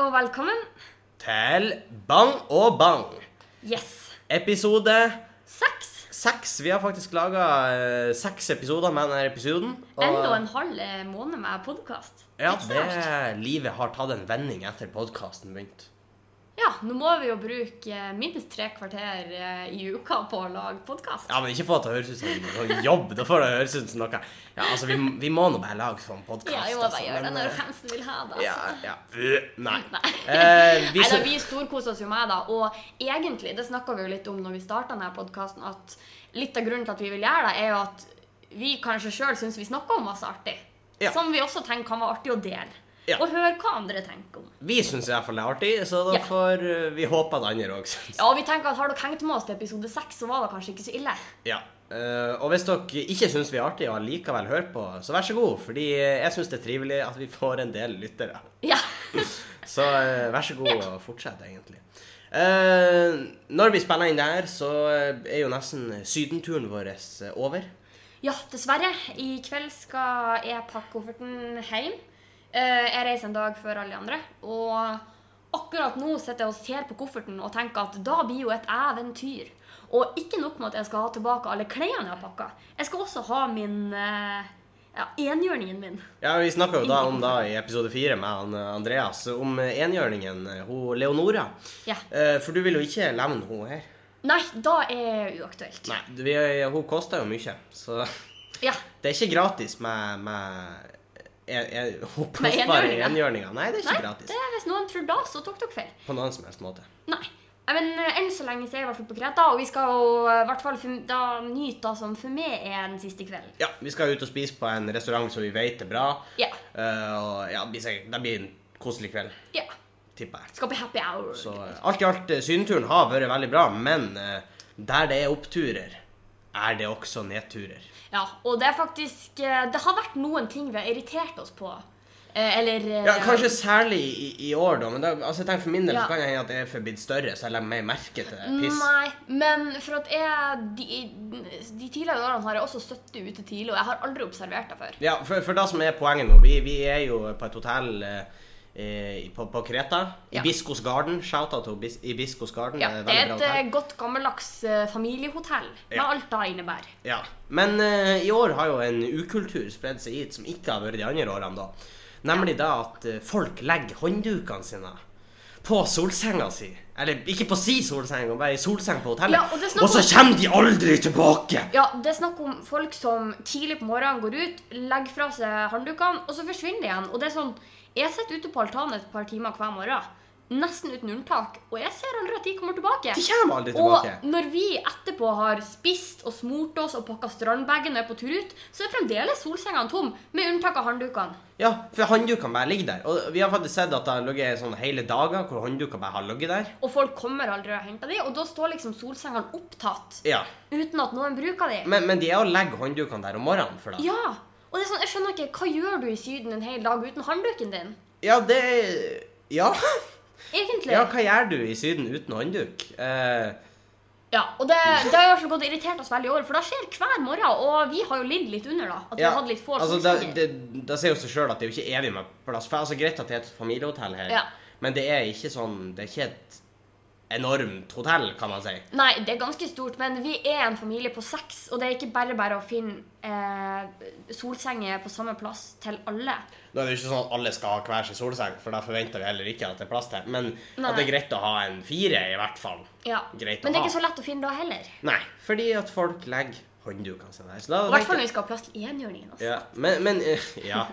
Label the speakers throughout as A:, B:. A: og velkommen.
B: Til Bang og Bang.
A: Yes.
B: Episode
A: Seks.
B: seks. Vi har faktisk laga seks episoder med denne episoden. og-
A: Enda en halv eh, måned med podkast.
B: Ja, det livet har tatt en vending etter podkasten begynte.
A: Ja, nå må vi jo bruke eh, minst tre kvarter eh, i uka på å lage podkast.
B: Ja, men ikke få det til å høres ut som noe jobb. Da får det høres ut som noe Ja, altså, vi, vi må nå bare lage sånn podkast.
A: Ja, vi må bare gjøre det når fansen vil ha det. altså.
B: eh, Ja, ja. Øh, Nei.
A: Nei.
B: Eh, vi,
A: Nei, da,
B: så-
A: vi storkoser oss jo med det. Og egentlig, det snakka vi jo litt om når vi starta denne podkasten, at litt av grunnen til at vi vil gjøre det, er jo at vi kanskje sjøl syns vi snakker om masse artig.
B: Ja.
A: Som vi også tenker kan være artig å dele.
B: Ja.
A: Og høre hva andre tenker om.
B: vi syns i hvert fall det er artig, så da
A: Ja.
B: får eh, vi håpe at andre òg syns.
A: Ja, og vi tenker at Har dere hengt med oss til episode seks, så var det kanskje ikke så ille.
B: Ja. eh, og hvis dere ikke syns vi er artige og likevel hører på, så vær så god, fordi jeg syns det er trivelig at vi får en del lyttere.
A: Ja.
B: Så eh, vær så god og fortsett, egentlig. Eh, når vi spiller inn det her, så eh, er jo nesten sydenturen vår eh, over.
A: ja, dessverre. I kveld skal jeg pakke kofferten hjem. Eh, Jeg reiser en dag før alle de andre. Og akkurat nå sitter jeg og ser på kofferten og tenker at da blir jo et eventyr. Og ikke nok med at jeg skal ha tilbake alle klærne jeg har pakka. Jeg skal også ha min eh, ja, enhjørningen min.
B: Ja, Vi snakka jo da om da i episode fire med han, eh, Andreas om eh, enhjørningen, eh, hun Leonora.
A: Ja.
B: Eh, for du vil jo ikke levne hun her.
A: Nei, da er det uaktuelt.
B: Nei, du, vi- hun koster jo mye, så
A: Ja.
B: Det er ikke gratis med, med jeg, jeg,
A: Med
B: med
A: enhjørninger?
B: enhjørninger. Nei, det er ikke
A: Nei,
B: gratis.
A: det, hvis noen tror da, så tok dere feil.
B: På noen som helst måte.
A: Nei. Nei, Men eh, enn så lenge så er jeg i hvert fall på Kreta, og vi skal jo eh, i hvert fall for- da nyte det som for meg er den siste kvelden.
B: Ja, vi skal ut og spise på en restaurant som vi vet er bra.
A: Ja.
B: Eh, og ja, det blir sikkert- det blir en koselig kveld,
A: ja.
B: tipper jeg.
A: Skal på happy hour.
B: Så eh, alt i alt, eh, sydenturen har vært veldig bra, men eh, der det er oppturer, er det også nedturer.
A: Ja, og det er faktisk eh, Det har vært noen ting vi har irritert oss på. Eh, Eller eh,
B: Ja, Kanskje særlig i, i år, da. Men da, altså, jeg tenker for min del
A: Ja. Mm,
B: så kan det hende at jeg er blitt større, så jeg legger mer merke til det. Piss.
A: Nei, men for at jeg de, de tidligere årene har jeg også sittet ute tidlig, og jeg har aldri observert det før.
B: Ja, for, for det som er poenget nå Vi, vi er jo på et hotell eh, eh, på, på Kreta.
A: Ja.
B: Ibiscos Garden. Shout-out til Ibis- Ibiscos Garden.
A: Ja,
B: det er et
A: det er et
B: veldig bra
A: eh,
B: hotell.
A: godt, gammeldags eh, familiehotell med
B: Ja.
A: alt det innebærer.
B: Ja. Men eh, i år har jo en ukultur spredd seg hit som ikke har vært de andre årene, da. Nemlig da at eh, folk legger hånddukene sine på solsenga si. Eller ikke på si solseng, men bare i solseng på hotellet.
A: Ja, og det er snakk
B: og så
A: om-
B: kommer de aldri tilbake!
A: Ja, det er snakk om folk som tidlig på morgenen går ut, legger fra seg handdukene, og så forsvinner de igjen. Og det er sånn, Jeg sitter ute på altanen et par timer hver morgen, nesten uten unntak, og jeg ser aldri at de kommer tilbake.
B: De kommer aldri tilbake.
A: Og når vi etterpå har spist og smurt oss og pakka strandbagen og er på tur ut, så er fremdeles solsengene tom, med unntak av handdukene.
B: Ja, for hånddukene bare ligger der. Og vi har faktisk sett at det har ligget sånn hele dager hvor hånddukene bare har ligget der.
A: Og folk kommer aldri og henter de, og da står liksom solsengene opptatt
B: Ja.
A: uten at noen bruker de.
B: Men, men de er jo å legge hånddukene der om morgenen for det. Ja,
A: Ja! Og det er sånn, jeg skjønner ikke, hva gjør du i Syden en hel dag uten håndduken din?
B: det er- ja.
A: Egentlig.
B: ja, hva gjør du i Syden uten håndduk? Eh,
A: Ja, og det, det har i hvert fall gått og irritert oss veldig i år, for det skjer hver morgen. Og vi har jo lidd litt under, da. At vi
B: ja,
A: har hatt litt få
B: altså,
A: solsenger.
B: da, det, da sier jo seg sjøl at det er jo ikke evig med plass. For altså, Greit at det er et familiehotell her,
A: Ja.
B: men det er ikke sånn Det er ikke et enormt hotell, kan man si.
A: Nei, det er ganske stort, men vi er en familie på seks, og det er ikke bare bare å finne eh, solsenger på samme plass til alle.
B: Nå er det jo ikke sånn at alle skal ha hver sin solseng, for da forventer vi heller ikke at det er plass til. Men
A: Nei.
B: at det er greit å ha en fire, i hvert fall.
A: Ja.
B: Greit å
A: men det er
B: ha.
A: ikke så lett å finne da heller.
B: Nei, fordi at folk legger hånddukene sine der. Så da
A: I hvert fall når vi skal ha plass til enhjørningen. Altså.
B: Ja, men, men, eh, ja.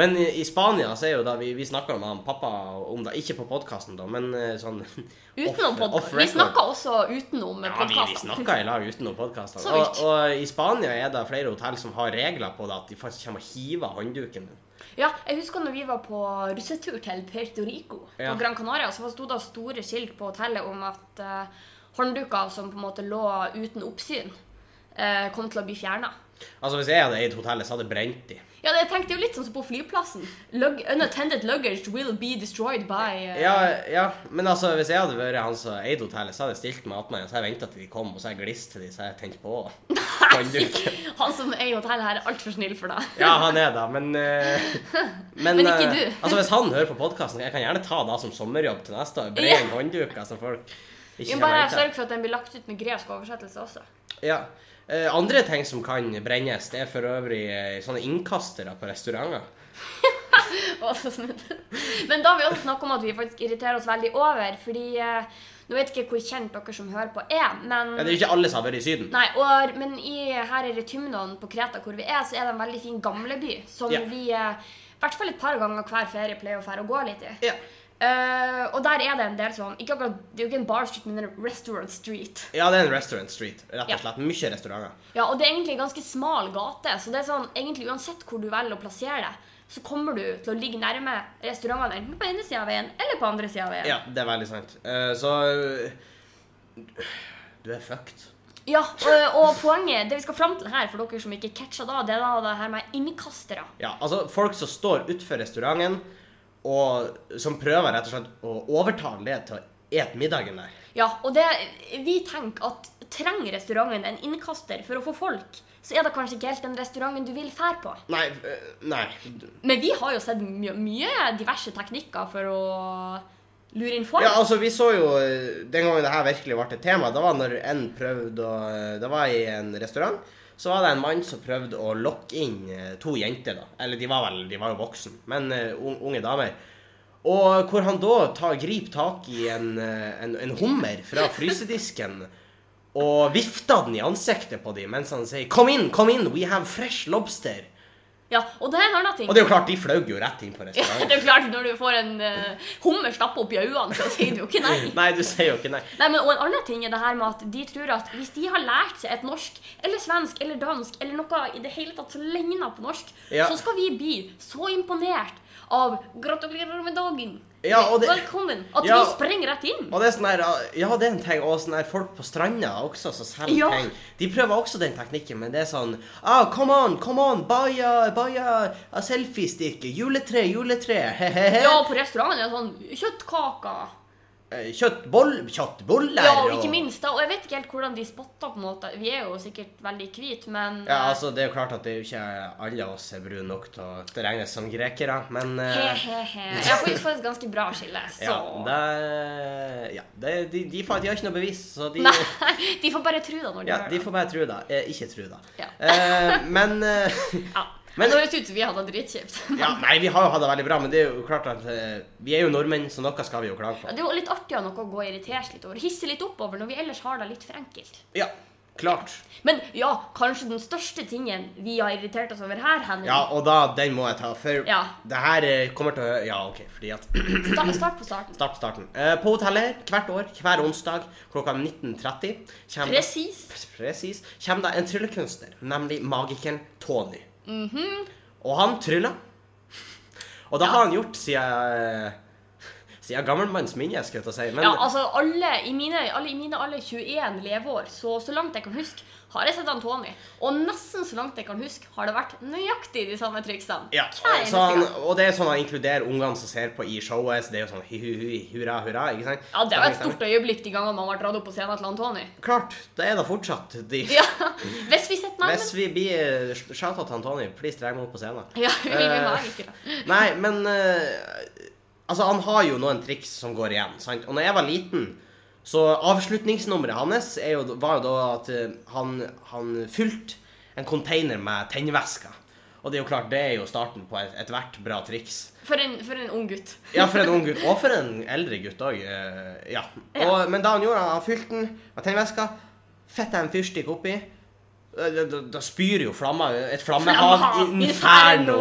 B: men eh, i i Spania så er jo da Vi, vi snakka med han pappa om det, ikke på podkasten, da, men eh, sånn
A: Utenom
B: off- off
A: podkast. Vi
B: record.
A: snakker også utenom
B: ja, vi, vi
A: podkasten.
B: snakka i lag utenom podkasten.
A: Så
B: Og,
A: vidt.
B: og i Spania er det flere hotell som har regler på det, at de faktisk kommer og hiver håndduken din.
A: Ja, jeg husker når vi var på russetur til Puerto Rico
B: Ja.
A: på Gran Canaria, så sto det store skilt på hotellet om at eh, håndduker som på en måte lå uten oppsyn, eh, kom til å bli fjerna.
B: Altså, hvis jeg hadde eid hotellet, så hadde jeg brent de.
A: Ja, det jeg tenkte jo litt sånn som på flyplassen. Lug unattended luggage will be destroyed by eh,
B: Ja, ja, men altså, hvis jeg hadde vært han som eide hotellet, så hadde jeg stilt meg attmed, så hadde jeg venta til de kom, og så hadde jeg glist til de, så hadde jeg tent på håndduken.
A: Han som eier hotellet her, er altfor snill for deg.
B: Ja, han er da, men eh,
A: Men ikke
B: eh,
A: du.
B: altså, hvis han hører på podkasten, jeg kan gjerne ta det som sommerjobb til neste år. Bre inn håndduker som folk
A: Vi
B: ikke
A: må
B: kan
A: bare altså-
B: vente.
A: sørge for at den blir lagt ut med gresk oversettelse også.
B: Ja. Eh, andre ting som kan brennes, det er for øvrig eh, sånne innkastere på restauranter.
A: Å, så snudd. Men da har vi også snakket om at vi faktisk irriterer oss veldig over, fordi eh, Nå vet jeg ikke hvor kjent dere som hører på er, men
B: Ja, det er jo ikke alle som har vært i Syden.
A: Nei, og, men i, her i Retymnon på Kreta, hvor vi er, så er det en veldig fin gamleby som
B: Ja.
A: vi eh, i hvert fall et par ganger hver ferie pleier å fære og gå litt i.
B: Ja.
A: Eh, og der er det en del sånn ikke akkurat, Det er jo ikke en bar street, men en restaurant street.
B: ja, det er en restaurant street, rett
A: Ja.
B: og slett. Mye restauranter.
A: Ja, Og det er egentlig en ganske smal gate, så det er sånn, egentlig uansett hvor du velger å plassere deg, så kommer du til å ligge nærme restaurantene enten på ene sida av veien eller på andre sida av veien.
B: Ja, det er veldig sant. Eh, så eh, Du er fucked.
A: Ja, og, og poenget, det vi skal fram til her, for dere som ikke catcha da, det er da det her med innkastere.
B: Ja, altså folk som står utenfor restauranten, og som prøver rett og slett å overtale det til å ete middagen der.
A: Ja, og det, vi tenker at trenger restauranten en innkaster for å få folk, så er det kanskje ikke helt den restauranten du vil fære på.
B: Nei, eh, nei.
A: Men vi har jo sett mye, mye diverse teknikker for å lure inn folk.
B: Ja, altså, vi så jo eh, Den gangen det her virkelig ble et tema, da var når en prøvde å eh, Det var i en restaurant. Så var det en mann som prøvde å lokke inn eh, to jenter, da. Eller de var vel de var jo voksen, men eh, un- unge damer. Og hvor han da tar, griper tak i en, eh, en, en hummer fra frysedisken og vifter den i ansiktet på dem mens han sier 'Kom inn, kom inn, we have fresh lobster'.
A: Ja, og det er en annen ting.
B: Og det er jo klart, de fløy jo rett inn på
A: Ja,
B: restauranten.
A: det er klart, når du får en eh, hummer stappe opp i øynene, så sier du jo ikke nei.
B: Nei, du sier jo ikke nei.
A: Nei, men og En annen ting er det her med at de tror at hvis de har lært seg et norsk eller svensk eller dansk eller noe i det hele tatt som ligner på norsk,
B: Ja.
A: så skal vi bli så imponert av 'gratulerer med dagen',
B: Ja, og det-
A: velkommen, at
B: Ja.
A: vi sprenger rett inn.
B: Og det er sånn der, ja, det er en ting, og sånn der folk på stranda også som selger
A: Ja.
B: ting. De prøver også den teknikken, men det er sånn ah, Come on, come on, buy a, buy a, a selfiestick, juletre, juletre, he-he-he.
A: Ja, på restauranten er det sånn kjøttkaker.
B: Eh, Kjøttboll, kjøttboller
A: Ja, og ikke minst da, og jeg vet ikke helt hvordan de spotter på en måte. Vi er jo sikkert veldig hvite, men eh,
B: Ja, altså, Det er jo klart at det er jo ikke alle av oss er brune nok til å det regnes som grekere, men eh,
A: he-he-he. Jeg får jo faktisk ganske bra skille, så
B: ja, det, ja, det, de, de, fa- de har ikke noe bevis, så de
A: Nei, de får bare tro det når de
B: Ja,
A: hører
B: de
A: det.
B: får bare tro det. Eh, ikke tro det.
A: Ja.
B: Eh, men eh,
A: Ja.
B: Men-
A: Men, det høres ut som vi hadde det dritkjipt.
B: Ja, nei, vi har jo hatt det veldig bra, men det er jo klart at eh, vi er jo nordmenn, så noe skal vi jo klage
A: Ja,
B: på.
A: Det er jo litt artig å ha noe å gå og irritere seg litt over. Hisse litt opp over når vi ellers har det litt for enkelt.
B: Ja, klart.
A: Men ja, kanskje den største tingen vi har irritert oss over her, Henrik
B: Ja, og da, den må jeg ta, for
A: Ja.
B: det her eh, kommer til å Ja, OK, fordi at
A: Sta- Start på starten.
B: Start på starten. Eh, på hotellet hvert år, hver onsdag klokka 19.30 kommer
A: Presis.
B: Presis. Kommer det en tryllekunstner, nemlig magikeren Tony.
A: Mhm.
B: Og han tryller. Og det har han gjort siden eh, Siden gammelmanns minne, skulle jeg til å si. Men
A: Ja, altså alle i, mine, alle i mine alle 21 leveår, så, så langt jeg kan huske, har jeg sett han Tony. Og nesten så langt jeg kan huske, har det vært nøyaktig de samme triksene.
B: Ja,
A: Hver eneste
B: så han,
A: gang.
B: og det er sånn han inkluderer ungene som ser på i showet. Så det er jo sånn hi-hi-hi, hurra, hurra. ikke sant?
A: ja, det var et stort øyeblikk de gangene man ble dratt opp på scenen til han Tony.
B: Klart, det er da fortsatt de.
A: Ja, Hvis vi sitter
B: Hvis
A: nærmere
B: vi blir shouta til Antoni, please dreg meg opp på scenen.
A: Ja, vi vil
B: Eh,
A: være ikke det.
B: Nei, men eh, Altså, han har jo noen triks som går igjen, sant? Og når jeg var liten, så avslutningsnummeret hans er jo, var jo da at eh, han, han fylte en container med tennvæsker. Og det er jo klart, det er jo starten på et- ethvert bra triks.
A: For en, for en ung gutt.
B: Ja, for en ung gutt, og for en eldre gutt òg. Ja. Og, men da han gjorde det, han fylte den med tennvæska, fetta en fyrstikk oppi. eh, Da, da, da spyr jo flamma, et flammehav
A: Flammehav,
B: inferno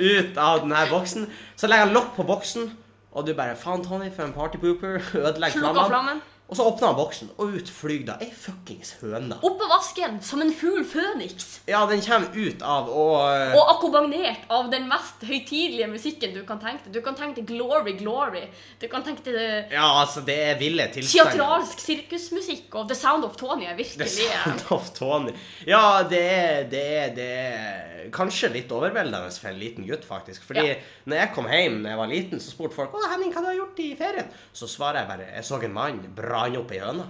B: ut av den her boksen. Så legger han lokk på boksen, og du bare Faen, Tony, for en partypooper. Ødelegger
A: Slukka
B: flammen.
A: flammen.
B: Og så åpna han boksen, og ut flyr da ei fuckings høne.
A: Oppå vasken som en fugl føniks.
B: Ja, den kommer ut av å eh,
A: Og akkompagnert av den mest høytidelige musikken du kan tenke deg. Du kan tenke deg Glory Glory. Du kan tenke deg eh,
B: Ja, altså, det er ville tilstander.
A: teatralsk sirkusmusikk og The Sound of Tony er
B: The
A: virkelig eh,
B: Sound of Tony. Ja, det er, det er, det er kanskje litt overveldende for en liten gutt, faktisk. Fordi
A: Ja.
B: når jeg kom hjem da jeg var liten, så spurte folk 'Å, Henning, hva du har gjort i ferien?' Så svarer jeg bare 'Jeg så en mann brenne opp ei høne'.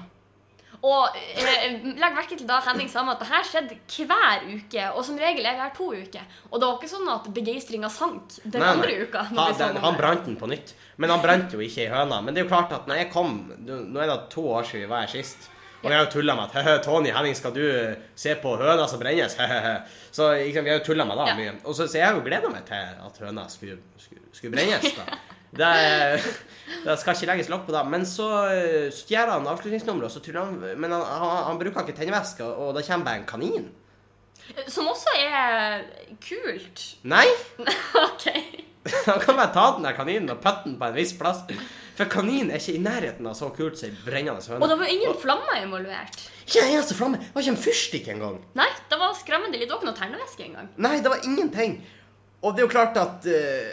A: Og eh, legg merke til da Henning sa meg at det her skjedde hver uke, og som regel er det her to uker. Og det var ikke sånn at begeistringa sank den
B: Nei, nei.
A: andre uka. når
B: Ha,
A: vi sa
B: den,
A: noe
B: han
A: om det.
B: brant den på nytt. Men han brant jo ikke ei høne. Men det er jo klart at når jeg kom Nå er det to år siden vi var her sist. Og vi har jo tulla med at «Høhø, Tony Henning, skal du eh, se på høna som brennes? Høhø». så ikke sant, vi har jo tullet med det
A: Ja.
B: mye. Og så, så jeg har jo gleda meg til at høna skulle, skulle, skulle brennes. da. Det, det skal ikke legges lokk på det. Men så eh, stjeler han avslutningsnummeret, og så tuller han Men han, han, han bruker ikke tennevæske, og da kommer bare en kanin.
A: Som også er kult.
B: Nei!
A: OK.
B: Han kan bare ta den der kaninen og putte den på en viss plass. For kanin er ikke i nærheten av så kult som ei brennende høne.
A: Og det var jo ingen flammer involvert.
B: Ikke en eneste flamme! Det var ikke en fyrstikk engang!
A: Nei, det var skremmende litt. Det var ikke noe ternevæske engang.
B: Nei, det var ingenting! Og det er jo klart at eh,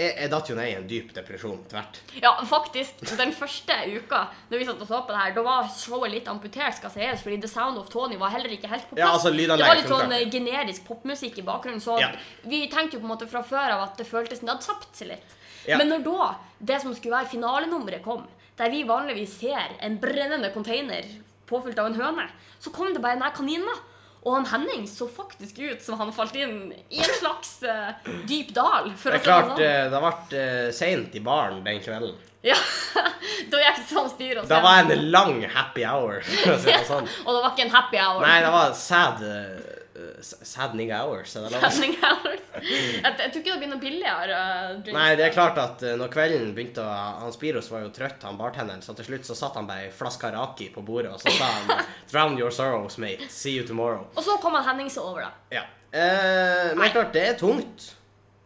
B: jeg, jeg datt jo ned i en dyp depresjon tvert.
A: Ja, faktisk, den første uka når vi satt og så på det her, da var showet litt amputert, skal sies, fordi The Sound of Tony var heller ikke helt på plass.
B: Ja, altså, lydanlegg
A: det var litt
B: funka
A: sånn eh, generisk popmusikk i bakgrunnen, så
B: Ja.
A: vi tenkte jo på en måte fra før av at det føltes som det hadde tapt seg litt.
B: Ja.
A: Men når da det som skulle være finalenummeret kom, der vi vanligvis ser en brennende container påfylt av en høne, så kom det bare denne kaninen da. Og han Henning så faktisk ut som han falt inn i en slags eh, dyp dal. For å si
B: Det er
A: det
B: klart,
A: sånn.
B: eh, det ble uh, seint i baren den kvelden.
A: Ja, da gikk det sånn styr og
B: Det var en lang happy hour, for å si det sånn.
A: Og det var ikke en happy hour.
B: Nei, det var sad eh, s- Sad nigga hours. er det lov å si?
A: Happening hours. Jeg, jeg tror ikke det blir noe billigere. uh, drink.
B: Nei, det er klart at eh, når kvelden begynte å Han Spiros var jo trøtt, han bartenderen, så til slutt så satt han bare ei flaske raki på bordet, og så sa han 'Drown your sorrows, mate. See you tomorrow'.
A: Og så kom han Henning seg over, da.
B: Ja. Eh, men klart, det er tungt.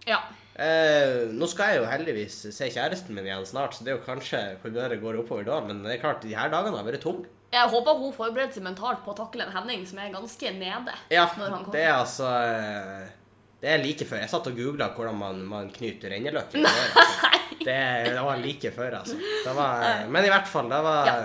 A: Ja.
B: Eh, nå skal jeg jo heldigvis se kjæresten min igjen snart, så det er jo kanskje humøret går oppover da, men det er klart, de her dagene har vært tunge.
A: Jeg håper hun forbereder seg mentalt på å takle en Henning som er ganske nede.
B: Ja,
A: når han kommer.
B: det er altså eh, Det er like før. Jeg satt og googla hvordan man, man knyter renneløk. i håret, altså. Det, det var like før, altså. Det var, men i hvert fall, det var
A: Ja.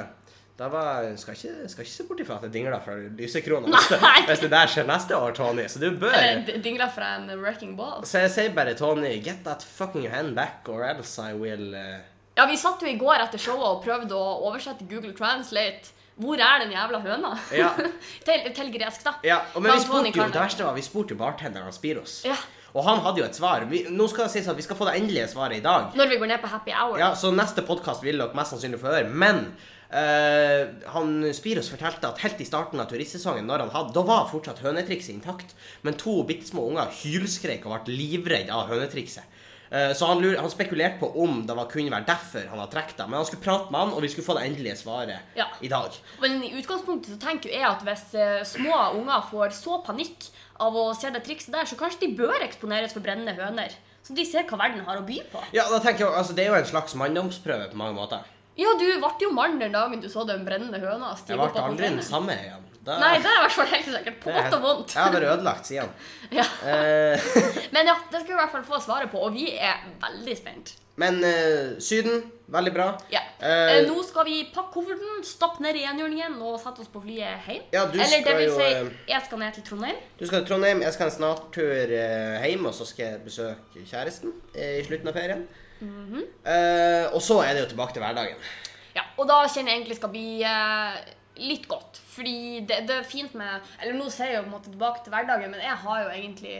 B: Det var, skal, ikke, skal ikke se bort ifra at jeg dingla fra lysekrona hvis, det-
A: Nei.
B: hvis det der skjer neste år, Tony. Så du bør
A: Eller d- dingla fra en wrecking ball.
B: Så jeg sier bare, Tony, get that fucking hand back, or else I will eh,
A: Ja, vi satt jo i går etter showet og prøvde å oversette Google Translate. Hvor er den jævla høna?
B: Ja.
A: til, til gresk, da.
B: Ja, og men vi
A: Kan Tony
B: spurte jo,
A: Carney-
B: det verste var, vi spurte jo bartenderen Spiros.
A: Ja.
B: Og han hadde jo et svar. Vi, nå skal det sies at vi skal få det endelige svaret i dag.
A: Når vi går ned på happy hour.
B: Ja, Så neste podkast vil dere mest sannsynlig få høre. Men eh, han Spiros fortalte at helt i starten av turistsesongen, når han hadde, da var fortsatt hønetrikset intakt. Men to bitte små unger hylskrek og ble livredd av hønetrikset. Eh, så han, lur, han spekulerte på om det var, kunne være derfor han var trukket. Men han skulle prate med han, og vi skulle få det endelige svaret
A: Ja.
B: i dag.
A: Men i utgangspunktet så tenker jo jeg at hvis eh, små unger får så panikk av å se det trikset der, så kanskje de bør eksponeres for brennende høner. Så de ser hva verden har å by på.
B: Ja, da tenker jeg, altså Det er jo en slags manndomsprøve på mange måter.
A: Ja, du ble jo mann den dagen du så den brennende høna stige
B: Jeg
A: opp
B: ble
A: av
B: aldri den
A: containeren.
B: samme igjen. Da-
A: Nei, det er i hvert fall helt sikkert. På
B: det er
A: godt og
B: helt-
A: vondt.
B: Jeg har vært ødelagt siden.
A: Ja.
B: Eh,
A: Men ja, det skal vi i hvert fall få svaret på, og vi er veldig spent.
B: men eh, Syden, veldig bra.
A: Ja.
B: Eh,
A: Eh, Nå skal vi pakke kofferten, stappe ned i enhjørningen og sette oss på flyet hjem.
B: Ja, du
A: Eller det
B: skal
A: vil
B: jo,
A: si,
B: eh,
A: jeg skal ned til Trondheim.
B: Du skal til Trondheim, jeg skal en snartur eh, hjem, og så skal jeg besøke kjæresten eh, i slutten av ferien.
A: Mhm.
B: Eh, og så er det jo tilbake til hverdagen.
A: Ja, og da kjenner jeg egentlig skal bli eh, litt godt. Fordi det, det er fint med Eller nå ser jeg jo på en måte tilbake til hverdagen, men jeg har jo egentlig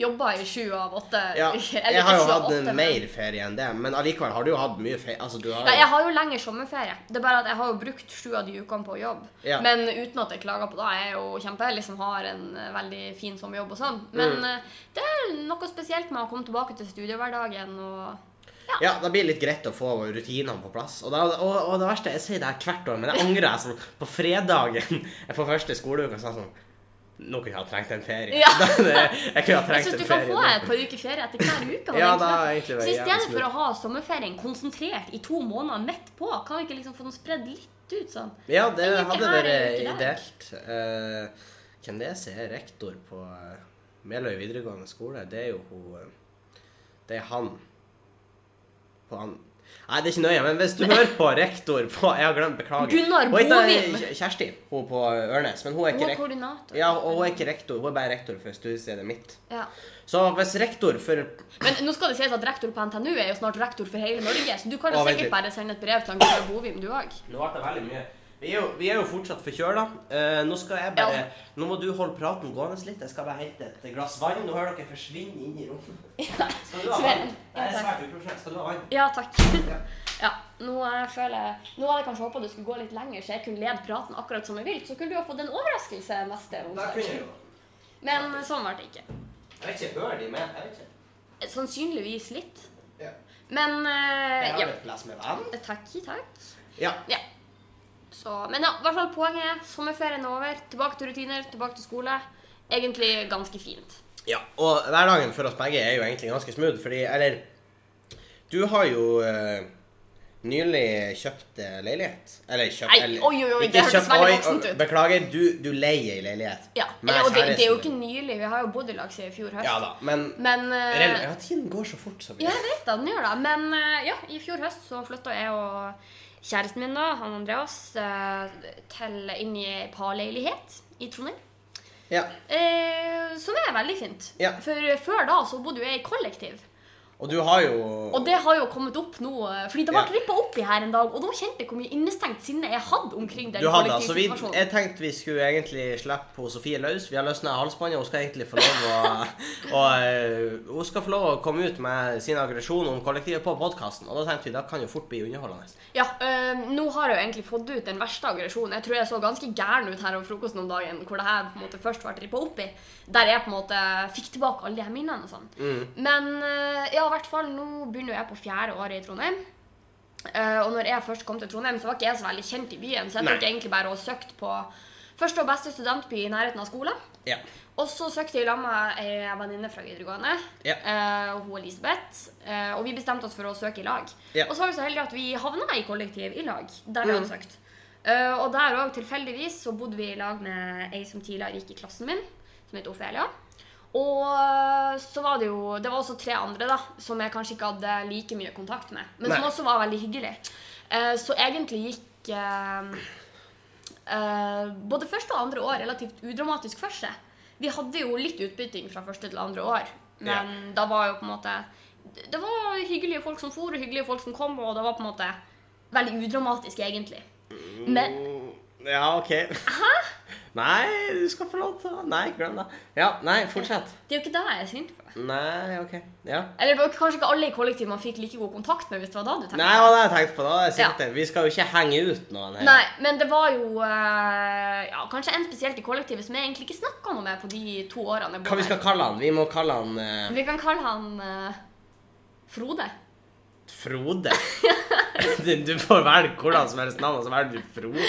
A: jobba i sju av åtte.
B: Ja,
A: eller
B: jeg har jo
A: ikke sju av
B: hatt
A: åtte,
B: en
A: men-
B: mer ferie enn det, men allikevel har du jo hatt mye ferie. Altså, du har
A: Ja,
B: jo-
A: jeg har jo lengre sommerferie. Det er bare at jeg har jo brukt sju av de ukene på jobb.
B: Ja.
A: Men uten at jeg klager på det. Jeg er jo kjempeheldig som har en eh, veldig fin sommerjobb og sånn. Men
B: Mm.
A: eh, det er noe spesielt med å komme tilbake til studiehverdagen og
B: Ja, da blir det litt greit å få rutinene på plass. Og, da, og, og det altså. verste, jeg sier det her hvert år, men jeg angrer jeg sånn på fredagen på første skoleuke. Så er jeg sånn Nå kunne jeg ha trengt en ferie.
A: Ja.
B: Da- det- jeg kunne ha
A: Jeg
B: trengt
A: syns
B: en
A: du kan
B: ferie.
A: få
B: nå.
A: et par uker ferie etter hver uke. hadde egentlig
B: Ja, da
A: vært-
B: har egentlig vært
A: så i stedet
B: jævlig
A: for å ha sommerferien konsentrert i to måneder midt på, kan vi ikke liksom få den spredd litt ut sånn?
B: Ja, det
A: En uke her,
B: hadde vært
A: en uke der.
B: ideelt. Eh, Hvem det er som er rektor på eh, Meløy videregående skole? Det er jo hun eh, Det er han. På han. Nei, det er ikke nøye, men hvis du hører på rektor på Jeg har glemt, beklager.
A: Gunnar
B: Hun heter, eh,
A: Bovim.
B: Kj- Kjersti, hun på Ørnes. Men hun
A: Hun
B: er ikke
A: er
B: rektor.
A: koordinator.
B: Ja, og hun er ikke rektor. Hun er bare rektor for studiestedet mitt.
A: Ja.
B: Så hvis rektor for
A: Men nå skal det sies at rektor på NTNU er jo snart rektor for hele Norge, så du kan jo
B: Å, vent
A: sikkert
B: litt.
A: bare sende et brev til han Gunnar Bovim, du òg.
B: Nå ble det veldig mye. Vi er jo, vi er jo fortsatt forkjøla. Eh, nå skal jeg bare
A: Ja.
B: Nå må du holde praten gående litt. Jeg skal bare hente et glass vann. Nå hører dere forsvinne inn i rommet. Skal du ha vann?
A: Sven,
B: Det er
A: ja, takk.
B: svært uprofesjonelt. Skal du ha vann?
A: Ja, takk. Ja, nå eh, føler jeg Nå hadde jeg kanskje håpa du skulle gå litt lenger, så jeg kunne lede praten akkurat som jeg vil. Så kunne du ha fått en overraskelse neste
B: Da kunne jeg
A: onsdag.
B: jo
A: Men sånn ble det ikke.
B: Jeg vet ikke. Hører de med? Jeg vet ikke.
A: Sannsynligvis litt.
B: Ja.
A: Men eh,
B: Jeg
A: ja.
B: har et glass med vann.
A: Eh, Takk, takk.
B: Ja.
A: Ja. Så, men ja, i hvert fall poenget er sommerferien er over. Tilbake til rutiner, tilbake til skole. Egentlig ganske fint.
B: ja. Og hverdagen for oss begge er jo egentlig ganske smooth, fordi Eller Du har jo eh, nylig kjøpt eh, leilighet. Eller kjøpt
A: Nei,
B: eller-
A: oi, oi, oi, det
B: ikke
A: hørtes
B: kjøpt,
A: veldig
B: oi,
A: voksent
B: oi,
A: ut.
B: Beklager, du, du leier ei leilighet.
A: Ja,
B: med
A: eller, og det, det er jo
B: kjæresten
A: ikke nylig. Vi har jo bodd i lag siden i fjor høst.
B: Ja da, men
A: Men eh,
B: Rel- Ja, tiden går så fort som vi
A: Ja, jeg vet da, den gjør det. Men eh, ja, i fjor høst så flytta jeg og kjæresten min, da, han Andreas, eh, til inn i ei parleilighet i Trondheim.
B: Ja.
A: Eh, som er veldig fint.
B: Ja.
A: For før da så bodde jo jeg i kollektiv.
B: Og du har jo
A: Og det har jo kommet opp nå, eh, fordi det ble
B: Ja.
A: rippet rippa opp i her en dag. Og da kjente jeg hvor mye innestengt sinne jeg hadde omkring den
B: du hadde, altså, vi,
A: kollektivsituasjonen.
B: Jeg tenkte vi skulle egentlig slippe på Sofie løs. Vi har løsna halsbåndet. Hun skal egentlig få lov å og, eh, Hun skal få lov å komme ut med sin aggresjon om kollektivet på podkasten. Og da tenkte vi da kan jo fort bli underholdende.
A: Ja, eh, nå har jeg jo egentlig fått ut den verste aggresjonen. Jeg tror jeg så ganske gæren ut her over frokosten om dagen, hvor det her på en måte først ble rippa opp i. Der jeg på en måte fikk tilbake alle de her minnene og sånn.
B: Mm.
A: Men eh, ja, i hvert fall, nå begynner jo jeg på fjerde året i Trondheim. Eh, og når jeg først kom til Trondheim, så var ikke jeg så veldig kjent i byen, så jeg
B: Nei.
A: tok egentlig bare og søkte på første og beste studentby i nærheten av skolen.
B: Ja.
A: Og så søkte jeg i lag med ei venninne fra videregående,
B: Ja.
A: eh, og hun Elisabeth. Eh, og vi bestemte oss for å søke i lag.
B: Ja. Mm.
A: Og så var vi så heldige at vi havna i kollektiv i lag, der vi hadde søkt. Eh, og der òg, tilfeldigvis, så bodde vi i lag med ei som tidligere gikk i klassen min, som het Ofelia. Og eh, så var det jo Det var også tre andre da som jeg kanskje ikke hadde like mye kontakt med, men som
B: Nei.
A: også var veldig hyggelig. Eh, så egentlig gikk eh, eh, både første og andre år relativt udramatisk for seg. Vi hadde jo litt utbytting fra første til andre år, men da var jo på en måte Det var hyggelige folk som for, og hyggelige folk som kom, og det var på en måte veldig udramatisk, egentlig. Men
B: Mm, Ja, OK. Hæ? Nei, du skal få lov til å Nei, glem det. Ja, nei, fortsett.
A: det er jo ikke det jeg er sint for.
B: Nei, OK. Ja.
A: Eller det var kanskje ikke alle i kollektivet man fikk like god kontakt med, hvis det var da du tenkte.
B: Nei, det var det jeg tenkte på. Da. Jeg sitter. Vi skal jo ikke henge ut noen her.
A: Nei, men det var jo eh, ja, kanskje en spesielt i kollektivet som jeg egentlig ikke snakka noe med på de to årene. jeg bodde
B: Hva vi skal kalle han? Vi må kalle han
A: her.
B: eh,
A: vi kan kalle han eh, Frode.
B: Frode. du, du får velge hvordan som helst navn, og så velger du Frode.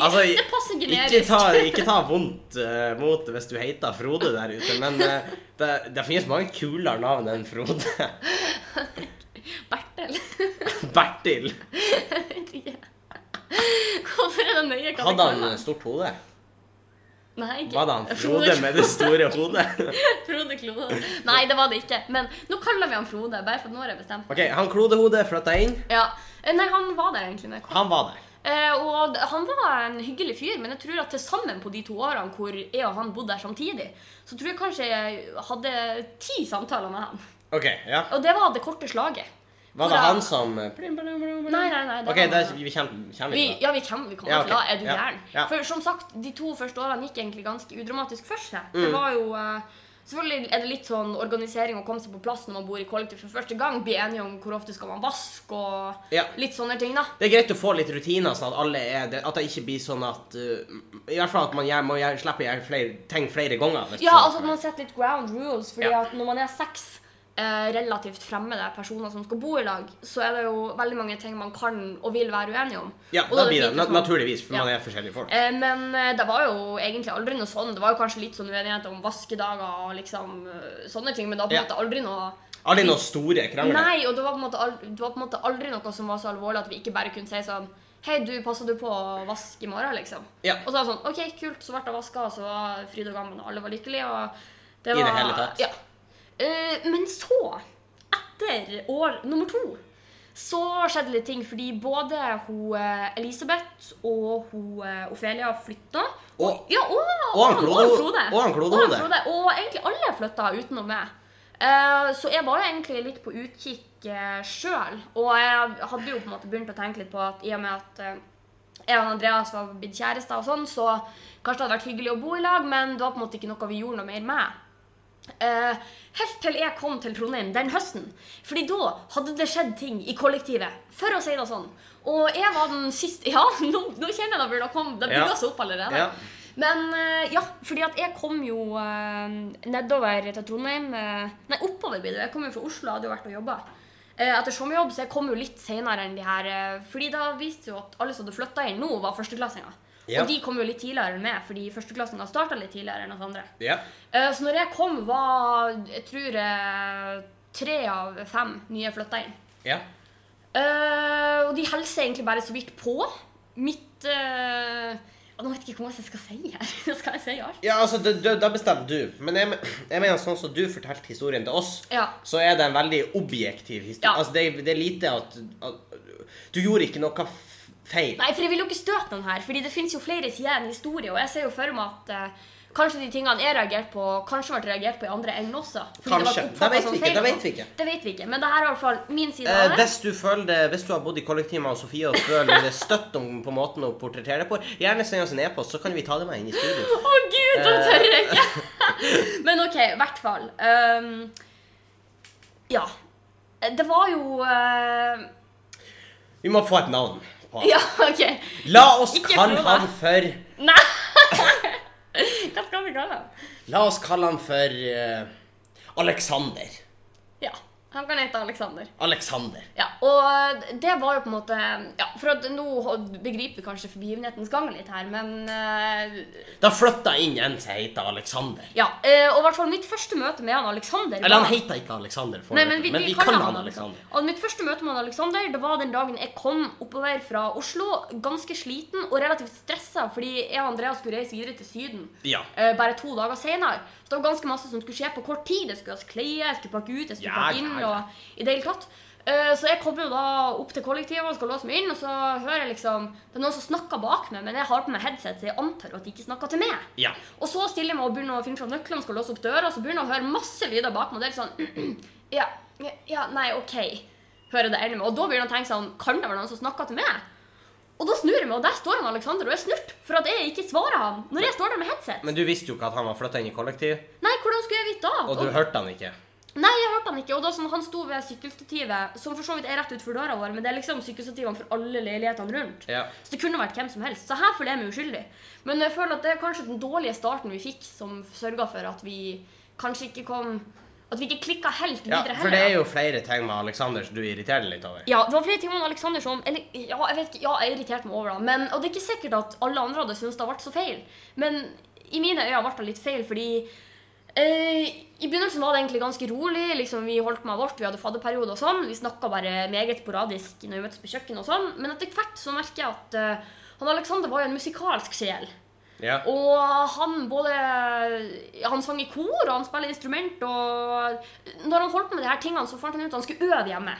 B: Altså, i-
A: Det passer
B: ikke
A: generisk.
B: ta, ikke ta vondt eh, mot det hvis du heter Frode der ute, men eh, det, det finnes mange kulere navn enn Frode.
A: Bertel.
B: Bertil.
A: Vet ikke. Hvorfor er det nøye hva
B: Hadde han stort hode?
A: Nei, ikke.
B: Var det han Frode med det store hodet?
A: Frode Klode. Nei, det var det ikke. Men nå kaller vi han Frode, bare for at nå har jeg bestemt.
B: OK, han klodehodet flytta inn.
A: Ja. Eh, Nei, han var der egentlig. når jeg kom.
B: Han var der.
A: Eh, og d- han var en hyggelig fyr, men jeg tror at til sammen på de to årene hvor jeg og han bodde der samtidig, så tror jeg kanskje jeg hadde ti samtaler med han.
B: OK, ja.
A: Og det var det korte slaget.
B: Var det han som eh,
A: Nei, nei, nei. det
B: OK,
A: var-
B: det, vi kommer kommer
A: Vi,
B: ikke
A: ja, vi kan, vi kan
B: Ja,
A: ikke la
B: ok.
A: Er du
B: Ja,
A: gæren?
B: ja.
A: For som sagt, de to første årene gikk egentlig ganske udramatisk for seg.
B: Mm.
A: Det var jo eh, Selvfølgelig er det litt sånn organisering å komme seg på plass når man bor i kollektiv for første gang. Bli enige om hvor ofte skal man vaske og
B: Ja.
A: litt sånne ting, da.
B: Det er greit å få litt rutiner, sånn at alle er det, At det ikke blir sånn at uh, I hvert fall at man gjør, må gjøre, slipper å gjøre flere ting flere ganger. hvis du
A: Ja,
B: skjønner
A: altså at man setter litt ground rules, fordi
B: Ja.
A: at når man er seks eh, relativt fremmede personer som skal bo i lag, så er det jo veldig mange ting man kan og vil være uenige om.
B: Ja,
A: Og
B: da
A: er fint
B: blir det
A: hvis
B: na
A: man-
B: naturligvis, for
A: Ja.
B: man er forskjellige folk.
A: Eh, Men eh, det var jo egentlig aldri noe sånn. Det var jo kanskje litt sånn uenighet om vaskedager og liksom eh, sånne ting, men det var på en
B: Ja.
A: måte aldri noe
B: Aldri noen store krangler.
A: Nei, og det var, på en måte aldri, det var på en måte aldri noe som var så alvorlig at vi ikke bare kunne si sånn Hei, du, passer du på å vaske i morgen, liksom?
B: Ja.
A: Og så var det sånn OK, kult, så ble det vaska, og så var fryd og gammen, og alle var lykkelige, og
B: I det hele tatt.
A: Ja. Eh, men så, etter år nummer to, så skjedde litt ting, fordi både hun eh, Elisabeth og hun eh, Ofelia flytta.
B: Og-
A: ja, og,
B: og han Klo-
A: han Frode.
B: og han Klode
A: Og han
B: Hode.
A: Frode. Og egentlig alle flytta utenom meg. Eh, så jeg var jo egentlig litt på utkikk uh, sjøl. Og jeg hadde jo på en måte begynt å tenke litt på at i og med at eh, jeg og Andreas var blitt kjærester og sånn, så kanskje det hadde vært hyggelig å bo i lag, men det var på en måte ikke noe vi gjorde noe mer med. Eh, helt til jeg kom til Trondheim den høsten. Fordi da hadde det skjedd ting i kollektivet. For å si det sånn. Og jeg var den siste Ja, nå, nå kjenner jeg det begynner å komme. Det
B: Ja.
A: bygger seg opp allerede.
B: Ja.
A: Men eh, ja, fordi at jeg kom jo eh, nedover til Trondheim eh, Nei, oppover blir det. Jeg kom jo fra Oslo, hadde jo vært og jobba. Eh, etter sommerjobb så jeg kom jo litt seinere enn de her. eh, fordi da viste det jo at alle som hadde flytta inn nå, var førsteklassinger.
B: Ja.
A: Og de kom jo litt tidligere enn meg, fordi førsteklassinger starta litt tidligere enn oss andre.
B: Ja.
A: Eh, Så når jeg kom, var jeg tror eh, tre av fem nye flytta inn.
B: Ja.
A: Eh, og de hilser egentlig bare så vidt på. Mitt eh, ja, Nå vet jeg ikke hva jeg skal si her. skal jeg si alt?
B: ja, altså, det, det, da bestemmer du. Men jeg, men- jeg mener sånn som du fortalte historien til oss,
A: Ja.
B: så er det en veldig objektiv historie.
A: Ja.
B: Altså, det, det er lite at, at Du gjorde ikke noe f- feil.
A: Nei, for jeg vil jo ikke støte noen her, fordi det finnes jo flere sider enn historie, og jeg ser jo for meg at eh, kanskje de tingene jeg reagerte på, kanskje ble reagert på i andre enden også. Fordi
B: Kanskje.
A: Det, var
B: Det vet vi
A: oppfattet som
B: ikke,
A: feil
B: det
A: og
B: vet
A: sånn.
B: vi ikke.
A: Det vet vi ikke, men det her er i hvert fall min side
B: Eh,
A: av det.
B: hvis, du føler det, hvis du har bodd i kollektiv med Sofie og føler det støtt om på måten hun portretterer det på, gjerne send oss en e-post, så kan vi ta det med inn i studio.
A: Å gud, da
B: Eh.
A: tør jeg ikke! Men OK, i hvert fall. Ehm, ja. Det var jo eh,
B: Vi må få et navn på han.
A: Ja, OK.
B: La oss
A: Ikke
B: kalle
A: Frode.
B: han for
A: Nei! Hva skal vi kalle ham?
B: La oss kalle han for eh, Alexander.
A: Ja. Han kan hete Aleksander.
B: Alexander.
A: Ja, og det var jo på en måte ja, For at nå begriper vi kanskje begivenhetens gang litt her, men eh,
B: Da flytta jeg inn en som heter Alexander.
A: Ja. eh, og i hvert fall mitt første møte med han Aleksander
B: Eller han heter ikke Alexander, for
A: Nei, men vi, vi kaller han
B: Alexander.
A: Alexander. Og mitt første møte med han Alexander det var den dagen jeg kom oppover fra Oslo, ganske sliten og relativt stressa fordi jeg og Andreas skulle reise videre til Syden.
B: Ja.
A: eh, bare to dager senere. Så det var ganske masse som skulle skje på kort tid. Jeg skulle vaske klær, jeg skulle pakke ut, jeg skulle
B: Ja,
A: pakke inn.
B: ja, ja.
A: og i det hele tatt. Eh, Så jeg kommer jo da opp til kollektivet og skal låse meg inn, og så hører jeg liksom Det er noen som snakker bak meg, men jeg har på meg headset, så jeg antar at de ikke snakker til meg.
B: Ja.
A: Og så stiller jeg meg og begynner å finne fram nøklene, skal låse opp døra, og så begynner jeg å høre masse lyder bak meg. og Det er litt sånn ja, ja, nei, OK. Hører det ene med. Og da begynner jeg å tenke sånn Kan det være noen som snakker til meg? Og da snur jeg meg, og der står han Alexander og er snurt for at jeg ikke svarer han når jeg står der med headset.
B: Men du visste jo ikke at han var flytta inn i kollektiv,
A: Nei, hvordan skulle jeg vite da?
B: og du
A: Og-
B: hørte han ikke.
A: Nei, jeg hørte han ikke. Og da sånn, Han sto ved sykkelstativet, som for så vidt er rett utenfor døra vår, men det er liksom sykkelstativene for alle leilighetene rundt.
B: Ja.
A: Så det kunne vært hvem som helst. Så her føler jeg meg uskyldig. Men jeg føler at det er kanskje den dårlige starten vi fikk, som sørga for at vi kanskje ikke kom At vi ikke klikka helt
B: ja,
A: videre
B: for det er jo flere ting med Alexander som du irriterer deg litt over.
A: Ja, det var flere ting om Alexander som eller, ja, jeg vet ikke, ja, jeg irriterte meg over det. Men, og det er ikke sikkert at alle andre hadde syntes det hadde vært så feil. Men i mine øyne ble det litt feil, fordi eh, I begynnelsen var det egentlig ganske rolig. liksom Vi holdt med vårt, vi hadde fadderperiode og sånn. Vi snakka bare meget sporadisk når vi møttes på kjøkkenet og sånn. Men etter hvert så merker jeg at eh, han Alexander var jo en musikalsk sjel.
B: Ja.
A: Og han både ja, Han sang i kor, og han spiller instrument, og Når han holdt på med de her tingene, så fant han ut at han skulle øve hjemme.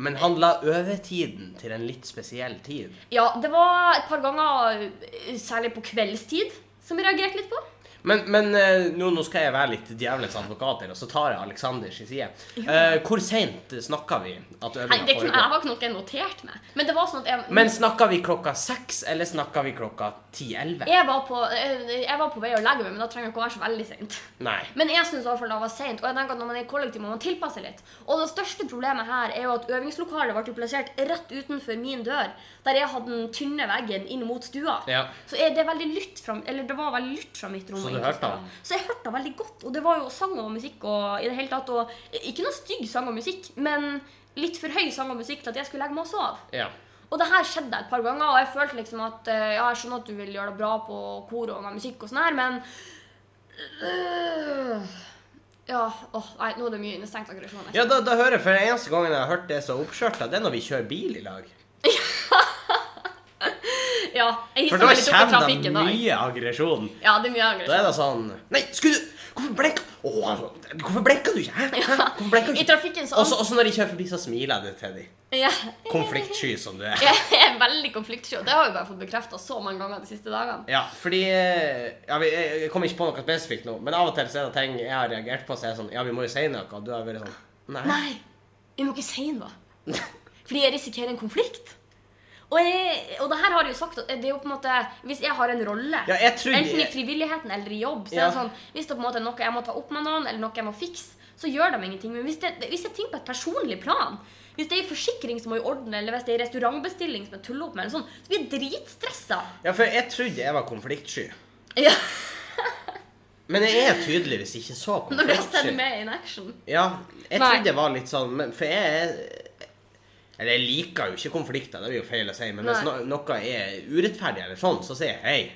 B: Men han la øvetiden til en litt spesiell tid.
A: Ja, det var et par ganger, eh, særlig på kveldstid, som jeg reagerte litt på.
B: Men, men eh, nå, nå skal jeg være lilitt djevelens advokat her, og så tar jeg Aleksanders side. Eh, hvor seint snakka vi at
A: Nei, det
B: øvinga
A: kunne, Jeg
B: foregår?
A: har ikke noe jeg noterte meg. Men det var sånn at jeg,
B: Men snakka vi klokka seks, eller snakka vi klokka ti-elleve?
A: jeg, var på, eh, jeg var på vei å legge meg, men da trenger jeg ikke å være så veldig sent.
B: Nei.
A: Men jeg syns det var sent, og jeg tenker at når man er i kollektiv, må man tilpasse litt. Og det største problemet her er jo at øvingslokalet ble plassert rett utenfor min dør, der jeg hadde den tynne veggen inn mot stua.
B: Ja.
A: Så er det veldig lytt fra, eller det var veldig lytt fra mitt rom.
B: Så
A: og
C: du
A: egentlig
C: hørte
A: spiller.
C: den?
A: Så jeg hørte den veldig godt. Og det var jo sang og musikk og i det hele tatt. Og ikke noe stygg sang og musikk, men litt for høy sang og musikk til at jeg skulle legge meg og sove.
C: Ja.
A: Og det her skjedde et par ganger, og jeg følte liksom at eh, ja, jeg skjønner at du vil gjøre det bra på kor og med musikk og sånn her, men øh, Ja, åh, nei, nå er det mye innestengt aggresjon.
B: Ja, da, da hører jeg for eneste gangen jeg har hørt det så oppskjørta, det er når vi kjører bil i lag.
A: Ja, jeg hisser
B: For da
A: meg litt opp i
B: kommer det
A: trafikken da.
B: mye aggresjon.
A: Ja, det er mye
B: Da
A: aggresjon.
B: er det sånn Nei, skulle du Hvorfor blenka Åh, Hvorfor blenka du ikke? Hæ? Hæ? Hvorfor blenka du
A: I
B: ikke?
A: trafikken så
B: Også, også når de kjører forbi, så smiler jeg det til dem.
A: ja,
B: Konfliktsky som du er.
A: Jeg er veldig konfliktsky, og det har jeg bare fått bekrefta så mange ganger de siste dagene.
B: Ja, fordi eh, ja, vi, Jeg jeg kom ikke på noe spesifikt nå, men av og til så er det ting jeg har reagert på, så er jeg sånn Ja, vi må jo si noe. Og du har vært sånn Nei.
A: Nei, jeg må ikke si noe. Fordi jeg risikerer en konflikt. Og, jeg, og det her har jeg jo sagt at det er jo på en måte, Hvis jeg har en rolle,
B: Ja, jeg tror
A: enten i
B: jeg-
A: frivilligheten eller i jobb så
B: Ja.
A: er det sånn, Hvis det på en måte er noe jeg må ta opp med noen, eller noe jeg må fikse, så gjør de ingenting. Men hvis det, hvis det er ting på et personlig plan, hvis det er en forsikring som må i orden, eller hvis det er en restaurantbestilling som jeg tuller opp med, eller sånn, så blir jeg dritstressa.
B: Ja, for jeg trodde jeg var konfliktsky.
A: Ja,
B: Men jeg er tydeligvis ikke så
A: når jeg sender
B: konfliktsky.
A: med in action.
B: Ja, jeg
A: Nei.
B: trodde jeg var litt sånn men, For jeg er Eller jeg liker jo ikke konflikter, det blir jo feil å si, men hvis no
A: Nei.
B: noe er urettferdig eller sånn, så sier jeg hei,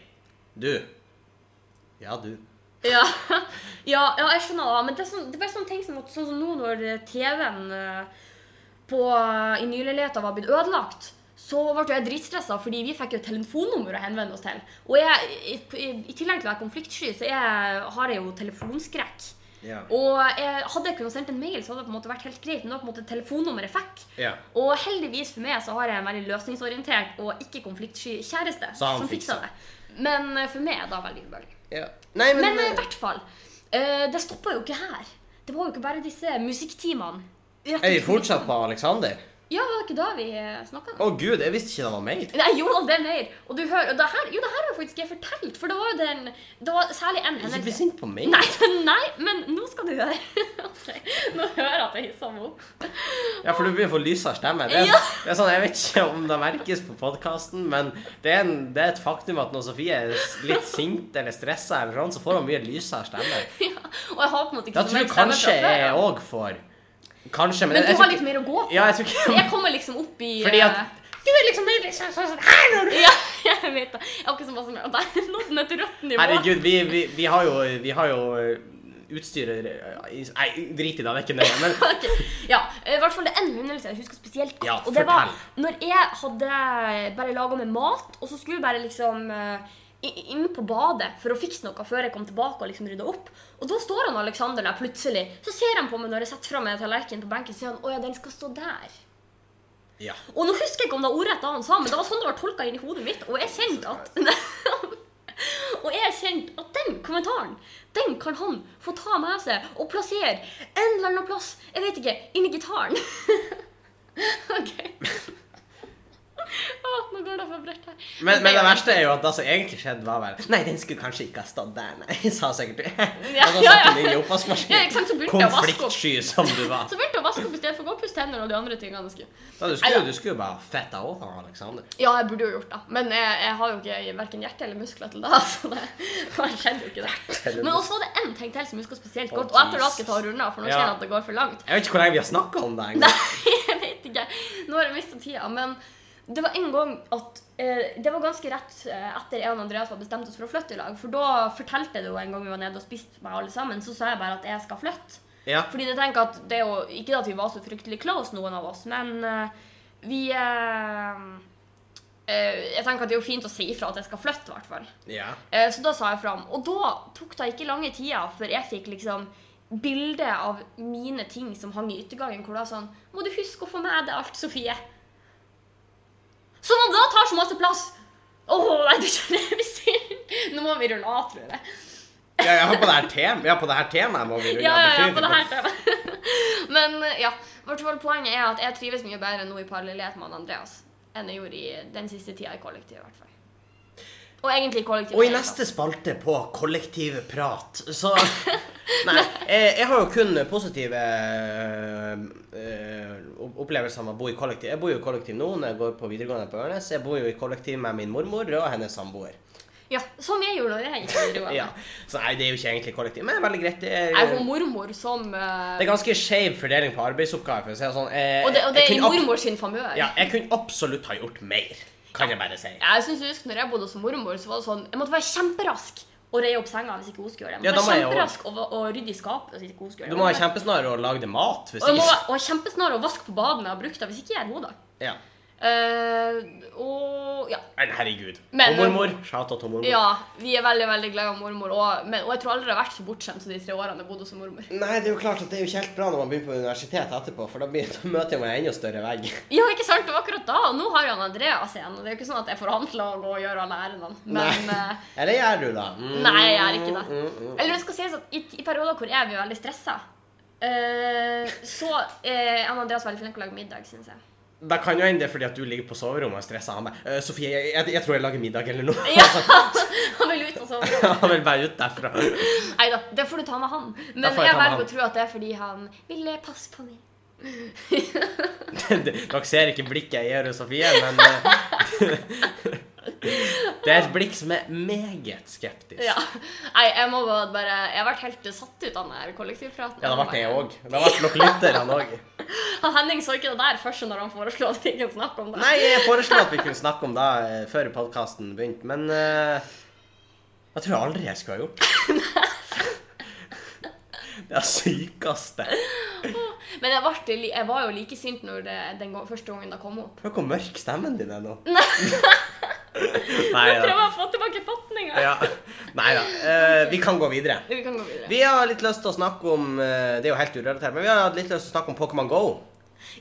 B: du. Ja, du.
A: Ja, ja, ja jeg skjønner det. Men det er, sånn, det er bare sånne ting som at sånn som nå når eh, TV-en eh, på, i nyleiligheten var blitt ødelagt, så ble jo jeg dritstressa, fordi vi fikk jo et telefonnummer å henvende oss til. Og jeg, i, i, i tillegg til å være konfliktsky, så jeg, har jeg jo telefonskrekk.
B: Ja.
A: Og jeg, hadde jeg kunnet sendt en mail, så hadde det på en måte vært helt greit. Men det var på en måte telefonnummeret jeg fikk.
B: Ja.
A: Og heldigvis for meg så har jeg en veldig løsningsorientert og ikke konfliktsky kjæreste
B: Så han
A: som fiksa
B: fikser.
A: det. Men eh, for meg er det veldig ubehagelig.
B: ja. Nei, men,
A: Men eh, i hvert fall, eh, det stoppa jo ikke her. Det var jo ikke bare disse musikktimene.
B: eh, Er vi fortsatt på Alexander?
A: Ja, var det ikke da vi snakka?
B: Å gud, jeg visste ikke det var mer.
A: Nei, jo, det er mer. Og du hører, og det her, jo, det her har faktisk jeg fortalt, for det var jo den Det var særlig en
B: Ikke bli
A: hendelse.
B: sint på meg.
A: Nei, nei, men nå skal du høre. Ok, Nå hører jeg at jeg hisser meg opp.
B: Ja, for du blir for lys av stemme. Det er,
A: Ja.
B: det er sånn, Jeg vet ikke om det merkes på podkasten, men det er, en, det er et faktum at når Sofie er s- litt sint eller stressa, eller sånn, så får hun mye lysere stemme.
A: Ja, og jeg har på en måte ikke
B: Da tror jeg kanskje jeg
A: òg.
B: òg får. Kanskje, men,
A: Men
B: jeg
A: du
B: tror
A: har litt
B: ikke-
A: mer å gå på.
B: Ja, jeg tror ikke
A: Jeg kommer liksom opp i
B: Fordi at
A: eh,
B: Du er liksom mer sånn sånn sånn her når du
A: Ja, jeg vet det. Jeg har ikke så masse mer. Og der nådde den et rødt nivå.
B: Herregud, vi, vi, vi har jo, vi har jo eh, utstyret eh, i- Nei, drit i det, det er ikke nøye. Men
A: Ok, Ja, eh, i hvert fall det er en hendelse jeg husker spesielt godt.
B: Ja,
A: og det var
B: fortell.
A: når jeg hadde eh, bare laga meg mat, og så skulle jeg bare liksom eh, i- inn på badet for å fikse noe før jeg kom tilbake og liksom rydda opp. Og da står han Alexander der plutselig. Så ser han på meg når jeg setter fra meg tallerkenen på benken, så sier han 'Å ja, den skal stå der'.
B: ja.
A: Og nå husker jeg ikke om det var ordrett det han sa, men det var sånn det var tolka inn i hodet mitt, og jeg kjente at Og jeg kjente at den kommentaren, den kan han få ta med seg og plassere en eller annen plass, jeg vet ikke, inni gitaren. OK. Å, nå går det for bredt her.
B: Men, men det verste er jo at det som egentlig skjedde, var vel Nei, den skulle kanskje ikke ha stått der, nei, sa sikkert du. Og så
A: ja,
B: satte
A: ja.
B: den
A: Ja, ikke sant,
B: inn i
A: så
B: oppvaskmaskinen.
A: begynte jeg å vaske opp.
B: Konfliktsky som du var.
A: Så begynte jeg å vaske opp i stedet for å gå og pusse tennene og de andre tingene. jeg skulle.
B: Ja, du, skulle, du skulle jo bare fetta over Alexander.
A: Ja, jeg burde jo gjort det, men jeg, jeg har jo ikke verken hjerte eller muskler til det. Så det, det skjedde jo ikke det.
B: eller
A: Men også var det én ting til som jeg husker spesielt
B: Å,
A: godt. Og etter det skal
B: Jesus.
A: jeg ta og runde av, for nå
B: Ja.
A: kjenner jeg at det går for langt.
B: Jeg vet ikke hvor lenge vi har snakka om det engang.
A: Nei, jeg vet ikke. Nå har jeg mista tida. Men det var en gang at eh, Det var ganske rett eh, etter jeg og Andreas var bestemt oss for å flytte i lag. For da fortalte jeg det jo en gang vi var nede og spiste med alle sammen, så sa jeg bare at jeg skal flytte.
B: Ja.
A: Fordi jeg tenker at det er jo ikke at vi var så fryktelig close, noen av oss, men eh, vi eh, eh, Jeg tenker at det er jo fint å si ifra at jeg skal flytte, i hvert fall.
B: ja.
A: Eh, Så da sa jeg fram. Og da tok det ikke lange tida før jeg fikk liksom bilde av mine ting som hang i yttergangen, hvor det var sånn Må du huske å få med deg alt, Sofie? Som om da tar så masse plass! Åh, nei, du kjenner jeg blir sint. Nå må vi runde av, tror jeg.
B: Ja, ja, på det her tem ja, på det her temaet må vi runde
A: Ja, ja, ja,
B: definitivt.
A: på det her temaet. Men eh, ja. Hvert fall poenget er at jeg trives mye bedre nå i parallellighet med han Andreas enn jeg gjorde i den siste tida i kollektivet, i hvert fall. Og egentlig i kollektivet.
B: Og i neste spalte på kollektiv prat, så Nei, jeg, jeg har jo kun positive eh, opp- opplevelser med å bo i kollektiv. Jeg bor jo i kollektiv nå når jeg går på videregående på Ørnes. Jeg bor jo i kollektiv med min mormor og hennes samboer.
A: Ja, som jeg gjorde når jeg gikk på videregående.
B: Ja. Så nei, det er jo ikke egentlig kollektiv, men det er veldig greit. Det er,
A: Jeg er jo mormor som eh,
B: det er ganske skeiv fordeling på arbeidsoppgaver. for å si det sånn. Jeg,
A: Og det, og det er i
B: jeg kunne ab-
A: mormor sin famør.
B: Ja, jeg kunne absolutt ha gjort mer, kan jeg bare si.
A: Jeg synes, jeg husker når jeg bodde hos mormor, så var det sånn Jeg måtte være kjemperask og reie opp senga hvis ikke hun skulle gjøre det. Jeg
B: Ja, da
A: måtte
B: må
A: være
B: jeg
A: kjemperask og, og rydde i skapet hvis ikke hun skulle
B: Du
A: gjøre det.
B: må være kjempesnar og lage det mat. Hvis
A: og jeg må
B: ikke-
A: være- og jeg er kjempesnar å vaske på badet når jeg har brukt det, hvis ikke jeg er god da.
B: Ja.
A: Eh, og ja.
B: Men herregud.
A: Men-
B: og mormor. Shouta til mormor.
A: ja. Vi er veldig veldig glad i mormor, og, men, og jeg tror aldri jeg har vært så bortskjemt som de tre årene jeg bodde hos mormor.
B: Nei, det er jo klart at det er jo ikke helt bra når man begynner på universitet etterpå, for da, blir, da møter man en enda større vegg.
A: Ja, ikke sant? Det var akkurat da. Og nå har jo han Andreas igjen. Og det er jo ikke sånn at jeg får han til å gå og gjøre alle ærendene. Men
B: Nei.
A: eh,
B: Eller gjør du det? Mm,
A: Nei, jeg gjør ikke det.
B: mm, mm.
A: Eller det skal sies at i, i perioder hvor jeg blir veldig stressa, eh, så eh, er Andreas veldig flink til å lage middag, syns jeg.
B: Da kan jo hende det er fordi at du ligger på soverommet og stresser. Han bare «Øh, 'Sofie, jeg, jeg, jeg tror jeg lager middag eller noe.'
A: Ja, Han vil ut og sove.
B: han vil bare ut derfra.
A: Nei da, det får du ta med han. Men
B: Da får
A: jeg,
B: jeg ta med
A: velger
B: han.
A: å tro at det er fordi han ville passe på meg.
B: Dere ser ikke blikket jeg gjør hos Sofie, men eh, Det er et blikk som er meget skeptisk.
A: Ja. Nei, jeg må bare bare Jeg ble helt satt ut av den her kollektivpraten.
B: Ja, det ble jeg òg. Det ble nok lytterne òg.
A: Han Henning så ikke det der først når han foreslo at vi ikke snakke om det.
B: Nei, jeg foreslo at vi kunne snakke om det eh, før podkasten begynte, men eh, Jeg tror aldri jeg skulle ha gjort det. Det er sykeste.
A: Men jeg, ble, li- jeg var jo like sint når det, den gang, første gangen det kom opp.
B: Hør hvor mørk stemmen din er nå. Nei,
A: Jeg prøver å få tilbake fatninga.
B: Ja. Nei da. Eh, vi kan gå videre.
A: Vi kan gå videre.
B: Vi har litt lyst til å snakke om eh, Det er jo helt urelatert, men vi har hatt litt lyst til å snakke om Pokémon Go.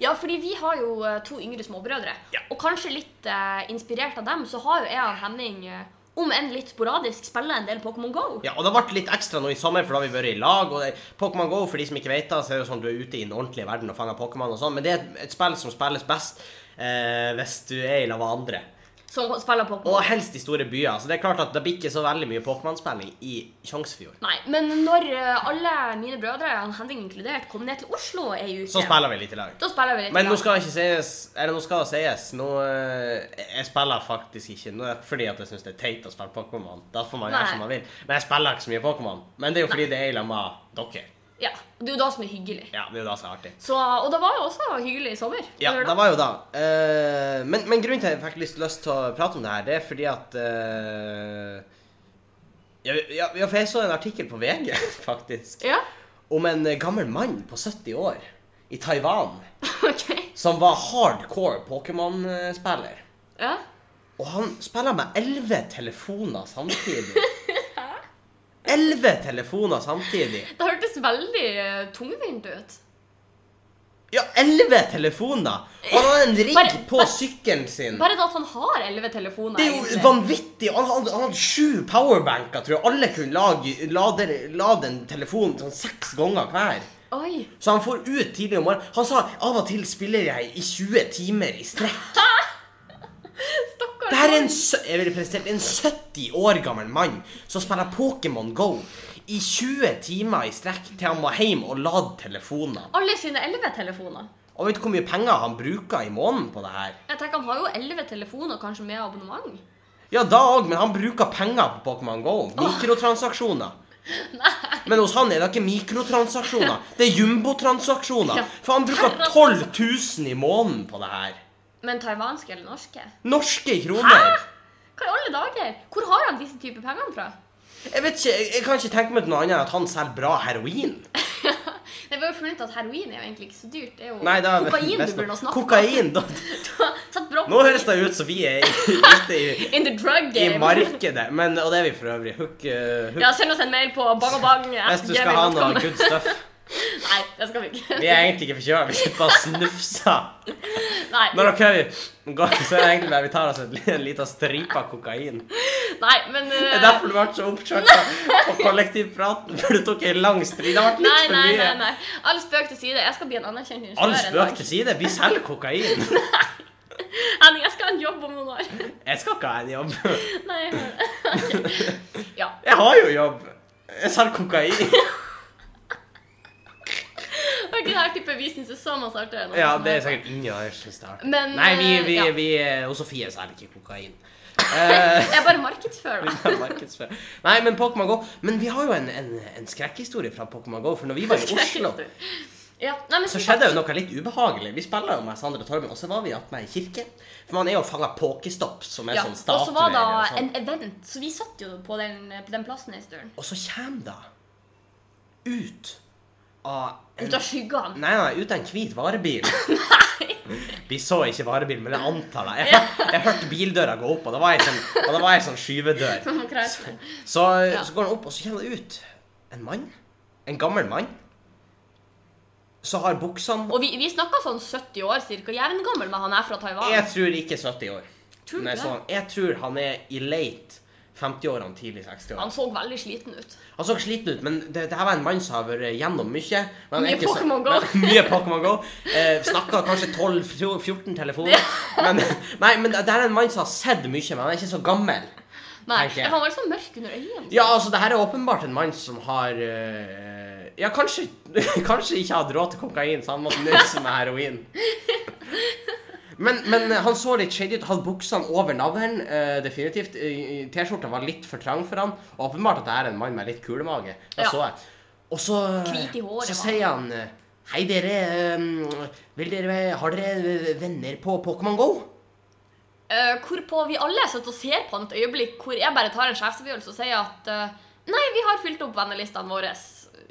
A: Ja, fordi vi har jo eh, to yngre småbrødre.
B: Ja.
A: Og kanskje litt eh, inspirert av dem, så har jo jeg og Henning, eh, om enn litt sporadisk, spilla en del Pokémon GO.
B: Ja, og Det ble litt ekstra nå i sommer, for da har vi vært i lag. og det- Pokémon Go for de som ikke vet det, så er det jo sånn du er ute i den ordentlige verden og fanger Pokémon og sånn, men det er et, et spill som spilles best eh, hvis du er i lag med andre.
A: Som spiller
B: Og
A: Pokémon.
B: helst i store byer. Så det er klart at det blir ikke så veldig mye Pokémon-spilling i Tjongsfjord.
A: Nei, men når eh, alle mine brødre, han Henning inkludert, kom ned til Oslo ei uke
B: Så spiller vi litt i lag.
A: Da spiller vi litt. i
B: Men nå
A: lag.
B: skal det ikke sies Eller nå skal det sies Nå eh, Jeg spiller faktisk ikke nå, fordi at jeg syns det er teit å spille Pokémon. Da får man gjøre
A: Nei.
B: som man vil. Men jeg spiller ikke så mye Pokémon. Men det er jo fordi det er i lag med dere.
A: Ja, Det er jo da som er hyggelig.
B: Ja, det er jo det som er artig.
A: Så, og det var jo også hyggelig i sommer.
B: Ja,
A: Eller
B: det var jo da. Eh, men, men grunnen til at jeg fikk lyst, lyst til å prate om det her, det er fordi at eh, ja, ja, ja, for jeg så en artikkel på VG, faktisk,
A: Ja,
B: om en eh, gammel mann på 70 år i Taiwan
A: ok.
B: som var hardcore Pokémon-spiller.
A: Ja.
B: Og han spiller med elleve telefoner samtidig. Elleve telefoner samtidig.
A: Det hørtes veldig eh, tungvint ut.
B: Ja, elleve telefoner! Han har en rigg
A: Bare-
B: på sykkelen sin.
A: Bare det at han har elleve telefoner.
B: Det er jo
A: egentlig.
B: vanvittig! Han, han, han hadde sju powerbanker, tror jeg. Alle kunne lage, lade, lade en telefon sånn seks ganger hver.
A: Oi.
B: Så han får ut tidlig om morgenen. Han sa av og til spiller jeg i 20 timer i strekk.
A: Stakkars
B: Det her er
A: mann.
B: en, sø- jeg vil presentere en 70 år gammel mann som spiller Pokémon Go i 20 timer i strekk til han må hjem og lade telefoner.
A: Alle sine elleve telefoner.
B: Og vet du hvor mye penger han bruker i måneden på det her?
A: Jeg tenker Han har jo elleve telefoner, kanskje med abonnement.
B: Ja, da òg, men han bruker penger på Pokémon Go. Mikrotransaksjoner. Men hos han er det ikke mikrotransaksjoner, det er jumbotransaksjoner.
A: Ja.
B: For han bruker 12 000 i måneden på det her.
A: Men taiwanske eller norske?
B: Norske kroner.
A: Hva i alle dager? Hvor har han disse typer pengene fra?
B: Jeg vet ikke, jeg- jeg kan ikke tenke meg noe annet enn at han selger bra heroin.
A: Det var jo funnet ut at Heroin er jo egentlig ikke så dyrt. Det er jo
B: Nei, da,
A: kokain du
B: best-
A: burde nå snakke
B: Kokain, da.
A: om. Satt bra
B: Nå høres det ut som vi er i- ute i,
A: In the drug
B: i
A: game.
B: markedet, men, og det er vi for øvrig. Hook, eh, hook.
A: Ja, Send oss en mail på bangabang.
B: Hvis du skal ha noe good stuff.
A: Nei, det skal vi ikke.
B: Vi er egentlig ikke forkjøla, vi sitter bare og snufser.
A: Nei.
B: Men ok, vi går, så er det egentlig bare vi tar oss en, li- en liten stripe av kokain.
A: Nei, men
B: Det er
A: eh,
B: derfor du ble så oppkjørt på kollektivpraten, for du tok en lang strid. Det ble
A: Nei,
B: litt for
A: nei, nei.
B: mye.
A: nei. All spøk til side. Jeg skal bli en anerkjent
B: All
A: ingeniør en
B: spøk
A: dag.
B: til side, vi selger kokain.
A: Henning, jeg skal ha en jobb om noen år.
B: Jeg skal ikke ha en jobb.
A: Nei, jeg hører det. Ok. Ja.
B: Jeg har jo jobb. Jeg selger kokain.
A: Det er ikke det her type vi syns er så masse artigere. enn
B: Ja,
A: andre
B: det er
A: som har-
B: sikkert ingen av oss som starter.
A: Men,
B: Nei, vi, eh, vi,
A: eh, ja.
B: vi og Sofie selger ikke kokain. Eh,
A: Jeg bare markedsfører meg.
B: Markedsfør. Nei, men Pokémon Go Men vi har jo en, en, en skrekkhistorie fra Pokémon Go. For når vi var i Oslo,
A: Ja, nei, men
B: så
A: som
B: skjedde
A: sagt,
B: jo noe litt ubehagelig. Vi spiller jo med Sandre Torben, og så var vi attmed i kirke. For man er jo fanga pokestopp, som er
A: ja,
B: sånn
A: Og
B: statue.
A: så var det
B: eller sånn.
A: en event, så vi satt jo på den, på den plassen en stund.
B: Og så kommer det ut av en
A: Ut av skyggene.
B: Nei, nei, ut av en hvit varebil. Vi så ikke varebilen, men jeg antar det. Jeg, jeg hørte bildøra gå opp, og det var ei sånn, og det var ei sånn skyvedør.
A: Krasj.
B: Så, så går han opp, og så kommer det ut en mann. En gammel mann. Så har buksene
A: Og vi, vi snakka sånn 70 år cirka. Jevn gammel med han er fra Taiwan.
B: Jeg tror ikke 70 år.
A: Tror du
B: Nei,
A: det?
B: sånn, jeg tror han er i late 50-årene, tidlig 60-årene.
A: Han så veldig sliten ut.
B: Han så sliten ut, men det, det her var en mann som har vært gjennom mye. Men han er
A: Mye
B: ikke så-
A: Pokémon Go.
B: Men, mye Pokémon Go. Eh, Snakka kanskje 12-14 telefoner. Men, nei, men det her er en mann som har sett mye, men han er ikke så gammel.
A: Nei,
B: Tenker jeg.
A: Han var litt sånn mørk under øynene.
B: Ja, altså, det her er åpenbart en mann som har eh, Ja, kanskje, kanskje ikke hadde råd til kokain, så han måtte nøse med heroin. Men, men eh, han så litt shady ut. Hadde buksene over navlen, eh, definitivt. Eh, T-skjorta var litt for trang for han. Åpenbart at det her er en mann med litt kulemage. Det
A: Ja.
B: så jeg. Og så,
A: Hvit i håret,
B: så
A: var
B: sier han eh, Hei, dere. eh, Vil dere Har dere eh, venner på Pokémon Go?
A: Eh, hvorpå vi alle sitter og ser på han et øyeblikk hvor jeg bare tar en sjefsavgjørelse og sier at eh, nei, vi har fylt opp vennelistene våre.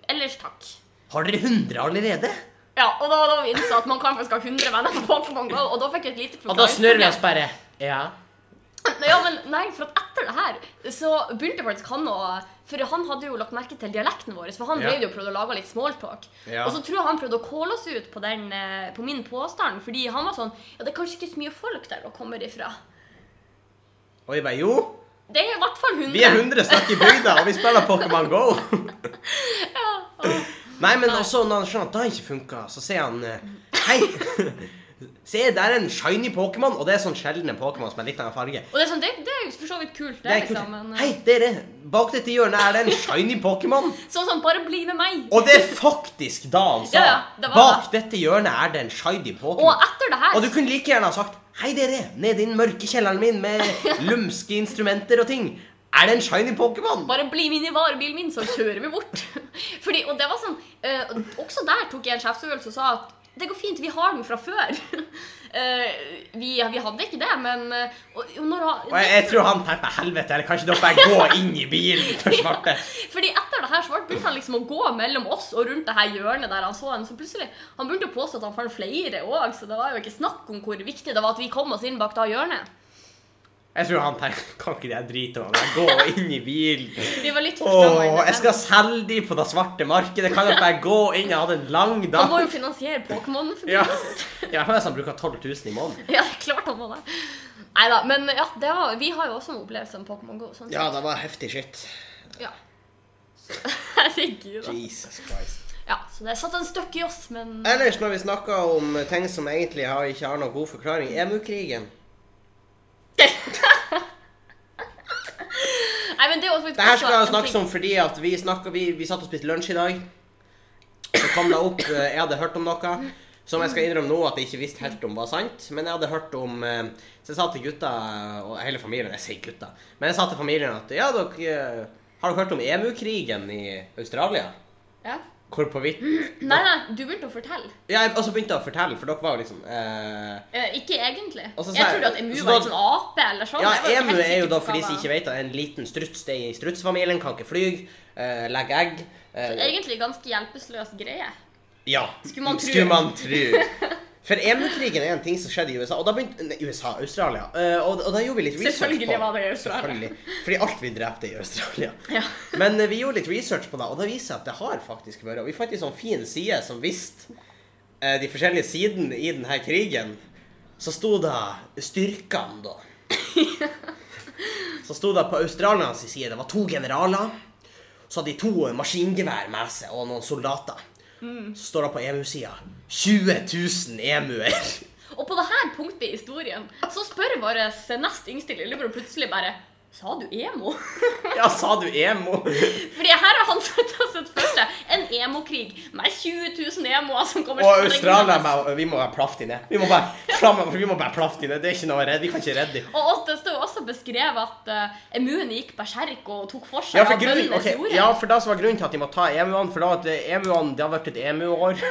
A: Ellers takk.
B: Har dere 100 allerede?
A: Ja, og da, da vi innså at man kan faktisk ha 100 venner på Pokémon GO, og da fikk jeg et lite
B: Og da snur vi oss bare. Ja.
A: Nei, ja, men nei, for at etter det her så begynte faktisk han å For han hadde jo lagt merke til dialekten vår, for han
B: Ja.
A: drev jo og prøvde å lage litt smalltalk.
B: Ja.
A: Og så tror jeg han prøvde å calle oss ut på, den, eh, på min påstand, fordi han var sånn Ja, det er kanskje ikke så mye folk der dere kommer ifra.
B: Og jeg bare Jo.
A: Det er i hvert fall 100.
B: Vi er 100 stykk i bygda, og vi spiller Pokémon GO! Nei, men også når han skjønner at det ikke funka, så sier han eh, Hei! Se, der er en shiny Pokémon, og det er sånn sjelden en Pokémon som er litt av en farge.
A: Og det er, sånn, det, det er jo for så vidt kult, det,
B: Det er kult.
A: liksom. Men, eh,
B: Hei, dere! Bak dette hjørnet er det en shiny Pokémon.
A: Sånn sånn, bare bli med meg.
B: Og det er faktisk da han sa.
A: Ja, ja, det var
B: Bak dette hjørnet er det en shiny
A: Og
B: Pokémon.
A: etter det her
B: Og du kunne like gjerne ha sagt Hei, dere! Nede i den mørke kjelleren min med lumske instrumenter og ting. Er det en shiny Pokémon?
A: Bare bli med inn i varebilen min, så kjører vi bort. Fordi, og det var sånn, eh, Også der tok jeg en sjefsøvelse og sa at det går fint, vi har den fra før. Eh, vi, vi hadde ikke det, men eh, og, jo, når, han-
B: Og jeg, jeg tror han tenkte helvete, eller kanskje dere bare gå inn i bilen for svarte.
A: Fordi etter det her så begynte han liksom å gå mellom oss og rundt det her hjørnet der han så den. Så plutselig, Han begynte å påstå at han fant flere òg, så det var jo ikke snakk om hvor viktig det var at vi kom oss inn bak da hjørnet.
B: Jeg tror han tenkte kan ikke det drite om meg, gå inn i bilen.
A: Vi var litt
B: Åh,
A: forstående.
B: jeg skal selge de på det svarte markedet. Kan dere bare gå inn? Jeg hadde en lang
A: Han
B: dag.
A: må jo finansiere Pokémon.
B: Ja, ja men han bruker 12 000 i måneden.
A: Ja, klart han må det. Nei da, men ja, det var, vi har jo også en opplevelse med Pokémon GO. Sånn.
B: det var heftig shit.
A: Ja. Så- Herregud. da.
B: Jesus Christ.
A: Ja, så det satt en støkk i oss, men
B: Ellers, når vi snakker om ting som egentlig har- ikke har noen god forklaring, EMU-krigen.
A: Nei, men det er jo faktisk
B: Det
A: også
B: her skal
A: Altså, en
B: jeg snakkes
A: ting-
B: om fordi at vi, snakket, vi, vi satt og spiste lunsj i dag. Så kom det opp eh, Jeg hadde hørt om noe som jeg skal innrømme nå at jeg ikke visste helt om var sant. Men jeg hadde hørt om eh, Så jeg sa til gutta og hele familien Jeg sier gutta. Men jeg sa til familien at ja, dere eh, Har dere hørt om EMU-krigen i Australia?
A: Ja.
B: Hvorpå vidt
A: Mm, Nei, nei, du begynte å fortelle.
B: Ja, jeg- og så begynte jeg å fortelle, for dere var jo liksom eh,
A: Eh, ikke egentlig.
B: Og så
A: jeg
B: sa jeg-
A: trodde at Emu
B: så
A: var
B: da-
A: en sånn ape eller sånn.
B: Ja,
A: Jeg var helt
B: emu er jo
A: sikker
B: da
A: på
B: for de
A: hva-
B: som ikke vet det, en liten struts. Det er i strutsfamilien, kan ikke fly, eh, legger egg. eh,
A: Egentlig ganske hjelpeløs greie.
B: Ja.
A: Skulle man tro.
B: Skulle man tro. For EMU-krigen er en ting som skjedde i USA. Og da begynte nei, USA, Australia. eh, og, og da gjorde vi litt research på
A: Selvfølgelig var det i Australia.
B: Selvfølgelig. Fordi alt vi drepte er i Australia.
A: Ja.
B: Men eh, vi gjorde litt research på det, og det viser seg at det har faktisk vært Og vi fant en sånn fin side som viste eh, de forskjellige sidene i denne krigen. Så sto det styrkene, da. Så sto det på australiernes side. Det var to generaler. Så hadde de to eh, maskingevær med seg og noen soldater. Så står det på emu-sida 20 000 emuer.
A: Og på det her punktet i historien så spør vår nest yngste lillebror plutselig bare Sa du emo?
B: Ja, sa du emo?
A: Fordi her har han satt oss et første. En emokrig med 20 000 emoer som kommer
B: Og
A: sprengende.
B: Australia Vi må være plaft inne. Vi må bare, framover, vi må bare plaffe de ned. Det er ikke noe å redde. Vi kan ikke redde dem.
A: Og oss, det står jo også også beskrevet at uh, Emuen gikk berserk og tok for seg
B: Ja, for
A: av
B: grunnen,
A: bøndenes
B: ok,
A: jorder.
B: ja, for da som var grunnen til at de måtte ta emuene, for da at emuene, det har vært et E emu-år,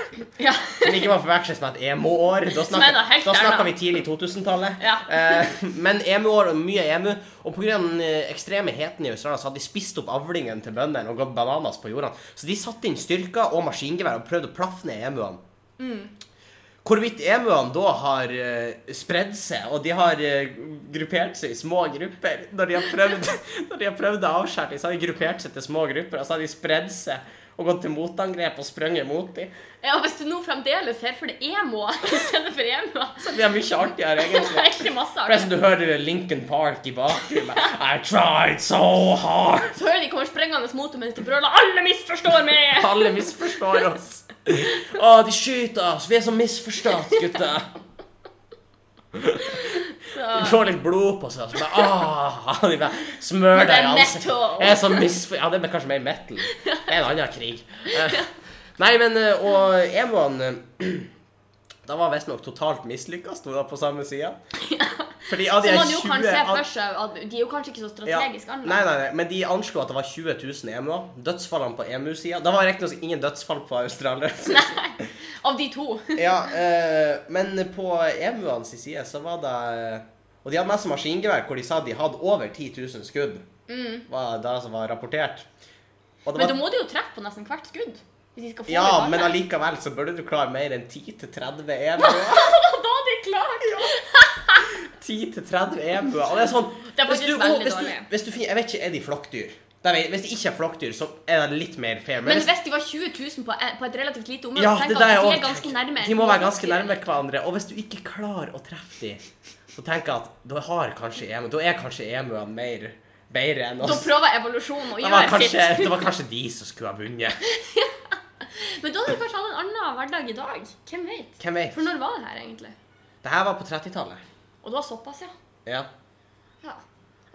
A: Ja.
B: som ikke var forveksles med et emo-år, da
A: Som er
B: snakker,
A: noe helt
B: da snakker
A: annet.
B: vi tidlig 2000-tallet.
A: Ja.
B: Eh, men emu-år og mye emu, og på grunn av den eh, ekstreme heten i Australia, så hadde de spist opp avlingen til bøndene og gått bananas på jordene, så de satte inn styrker og maskingevær og prøvde å plaffe ned emuene.
A: Mm.
B: Hvorvidt emuene da har eh, spredd seg, og de har eh, gruppert seg i små grupper Når de har prøvd, når de har prøvd avskjæring, så har de gruppert seg til små grupper, og så har de spredd seg og gått til motangrep og sprunget mot dem.
A: Ja, og hvis du nå fremdeles ser for deg emoer i stedet for emoer, så
B: Så de er mye artigere,
A: er det
B: egentlig.
A: egentlig masse
B: Det er
A: artig.
B: som du hører Lincoln Park i bakgrunnen. I tried so hard!
A: Så hører de kommer sprengende mot deg mens de brøler 'Alle misforstår meg!'
B: Alle misforstår oss. Å, de skyter oss. Vi er så misforstått, gutter.
A: Så,
B: De får litt blod på seg. og Så bare, «Åh!» de bare smører
A: Men det er
B: deg i ansiktet.
A: metal.
B: Jeg er så misfor... Ja, det er kanskje mer metal. Det er en annen krig. Eh, Nei, men eh, Og Emoen eh, Da var visstnok totalt mislykka, sto det på samme sida. Fordi av de
A: så man jo
B: 20
A: kan se
B: an-
A: for seg at de er jo kanskje ikke så
B: ja.
A: strategisk
B: nei,
A: anlagt.
B: nei, nei, men de anslo at det var 20 000 emuer. Dødsfallene på emu-sida Da var riktignok ingen dødsfall på australierne.
A: Nei. Av de to.
B: Ja, eh, men på emuene sin side så var det eh, Og de hadde med seg maskingevær hvor de sa de hadde over 10 000 skudd. Var det som var rapportert.
A: Mm.
B: Og det
A: Men da
B: var,
A: må de jo treffe på nesten hvert skudd. Hvis de skal få
B: ja,
A: det
B: men
A: bare.
B: allikevel så burde du klare mer enn 10-30 emuer.
A: Da er de klart!
B: 10-30 emuer. Og det er sånn
A: Det er
B: hvis
A: faktisk
B: du,
A: veldig
B: hvis du,
A: dårlig.
B: hvis du finner, Jeg vet ikke, er de flokkdyr? Det vet- Hvis de ikke er flokkdyr, så er det litt mer fair.
A: Men
B: hvis-
A: hvis de var 20 000 på, på et relativt lite område,
B: Ja,
A: tenk
B: det
A: at
B: er det jeg
A: de
B: også
A: er ganske
B: tenker.
A: nærme.
B: De må være ganske nærme hverandre. Og hvis du ikke klarer å treffe dem, så tenker jeg at da har kanskje emu Da er kanskje emuene mer bedre enn
A: Da
B: oss.
A: prøver evolusjonen å
B: Det var,
A: gjøre
B: kanskje,
A: sitt.
B: det var kanskje de som skulle ha vunnet.
A: Men da hadde de kanskje hatt en annen hverdag i dag. Hvem vet?
B: Hvem vet?
A: For når var det her, egentlig?
B: Det her var på 30-tallet.
A: Og det var såpass, ja.
B: Ja.
A: ja.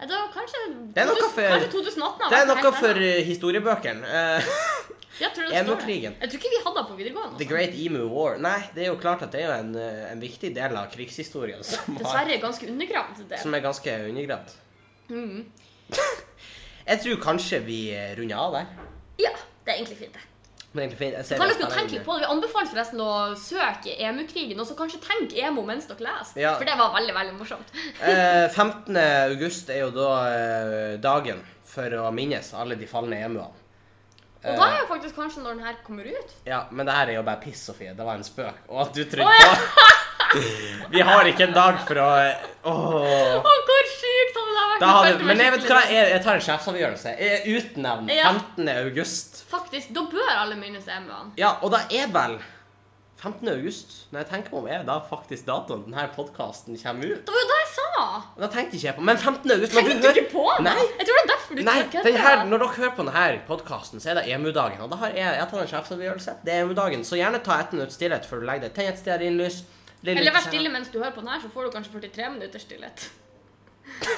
A: Nei, Det var kanskje,
B: Det er noe
A: 2000
B: for-
A: kanskje 2018 har
B: Det er
A: vært
B: noe
A: helt
B: for
A: annet.
B: eh, historiebøkene. Eh,
A: Jeg tror det står det.
B: Emokrigen.
A: Jeg tror ikke vi hadde det på videregående.
B: The
A: altså.
B: Great Emu War. Nei, det er jo klart at det er jo en, eh, en viktig del av krigshistorien som, har,
A: Dessverre ganske undergravd det.
B: som er ganske undergravd.
A: Mhm.
B: Jeg tror kanskje vi eh, runder av der.
A: Ja, det er egentlig fint, det.
B: Men egentlig fint. Jeg ser
A: Kan dere
B: det
A: jo
B: spennende.
A: tenke litt på det? Vi anbefaler forresten å søke EMU-krigen, og så kanskje tenk emo mens dere leser.
B: Ja.
A: For det var veldig, veldig morsomt.
B: Eh, 15. august er jo da eh, dagen for å minnes alle de falne emuene. Eh.
A: Og da er jo faktisk kanskje når den her kommer ut.
B: Ja, men det her er jo bare piss, Sofie. Det var en spøk. Og at du trodde
A: Å, ja.
B: på Vi har ikke en dag for å Åh.
A: Å, hvor sykt hadde det vært!
B: Da
A: Jeg
B: hadde,
A: følte meg
B: men jeg vet hva,
A: skikkelig-
B: jeg, jeg tar en sjefsavgjørelse. Jeg utnevner
A: Ja.
B: 15. august.
A: Faktisk, da bør alle minnes EMU-ene.
B: Ja, og da er vel 15. august, når jeg tenker meg om, er da faktisk datoen denne podkasten kommer ut.
A: Det var jo det jeg sa!
B: Da tenkte ikke jeg på Men 15. august når
A: Tenkte du ikke på det?
B: Nei.
A: Jeg tror det er derfor du
B: Nei,
A: ikke
B: den her, når dere hører på denne podkasten, så er det EMU-dagen. Og da har jeg, jeg tatt en sjefsavgjørelse. Det er EMU-dagen, så gjerne ta ett minutts stillhet før du legger deg. Tenn et stearinlys. Litt sånn
A: Eller vær stille mens du hører på den her, så får du kanskje 43 minutter stillhet.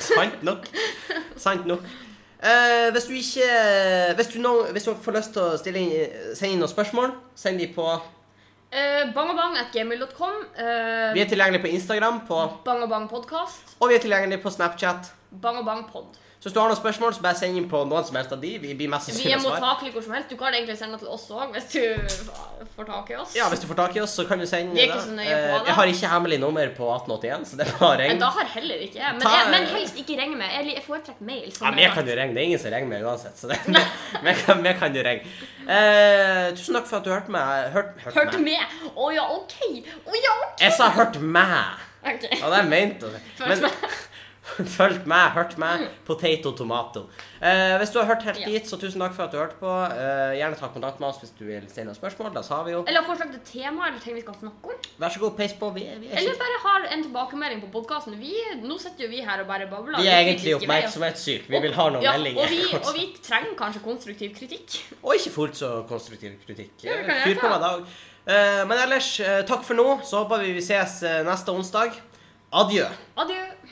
B: Sant nok. Sant nok. Eh, hvis du ikke hvis du, nå- hvis du får lyst til å stille inn, sende inn noen spørsmål, send de på
A: Uh, Bangabang.gmil.com. Eh,
B: Vi er tilgjengelige på Instagram, på,
A: Bangabangpodkast.
B: og vi er tilgjengelige på Snapchat.
A: Bangabangpod.
B: Så hvis du har noen spørsmål, så bare send inn på noen som helst av de. Vi blir mest
A: Vi er
B: sannsynlig å svare.
A: mottakelige hvor som helst. Du kan egentlig sende det til oss òg, hvis du får tak i oss.
B: Ja, hvis du får tak i oss, så kan du sende
A: Vi er ikke så nøye på
B: Eh,
A: det.
B: Jeg har ikke hemmelig nummer på 1881, så det er bare å
A: Men
B: ringe.
A: da har heller ikke jeg. Men,
B: Ta-
A: jeg, men helst ikke ringe meg. Jeg li- Jeg foretrekker mail. som
B: Ja,
A: er
B: men jeg kan
A: rart.
B: jo ringe. Det er ingen som ringer meg uansett. Så det, men jeg kan, men jeg kan jo ringe. Eh, tusen takk for at du hørte meg. Hørt, hørt
A: Hørte
B: meg.
A: med! Å ja, OK! Å ja, OK!
B: Jeg sa 'hørt meg'.
A: Ok.
B: Ja, det er ment. å si.
A: Følt
B: Men- Følt meg, hørt meg. Potato, tomato. Eh, hvis du har hørt helt
A: Ja.
B: dit, så tusen takk for at du hørte på. Eh, gjerne ta kontakt med oss hvis du vil stille noen spørsmål. Da sa vi jo.
A: Eller forslag til tema eller ting vi skal snakke om.
B: Vær så god, peis på. Vi er, vi er,
A: Eller
B: ikke-
A: bare har en tilbakemelding på podkasten. Nå sitter jo vi her og bare babler.
B: vi
A: litt
B: er egentlig
A: kritiske veier.
B: oppmerksomhetssyke. Vi vil ha noen
A: ja,
B: meldinger.
A: Og vi, og vi trenger kanskje konstruktiv kritikk.
B: Og ikke fullt så konstruktiv kritikk.
A: Ja, det kan jeg
B: Fyr
A: ta.
B: på meg da òg. Men ellers, eh, takk for nå. Så håper vi vi ses eh, neste onsdag. eh, Adjø.
A: Adjø.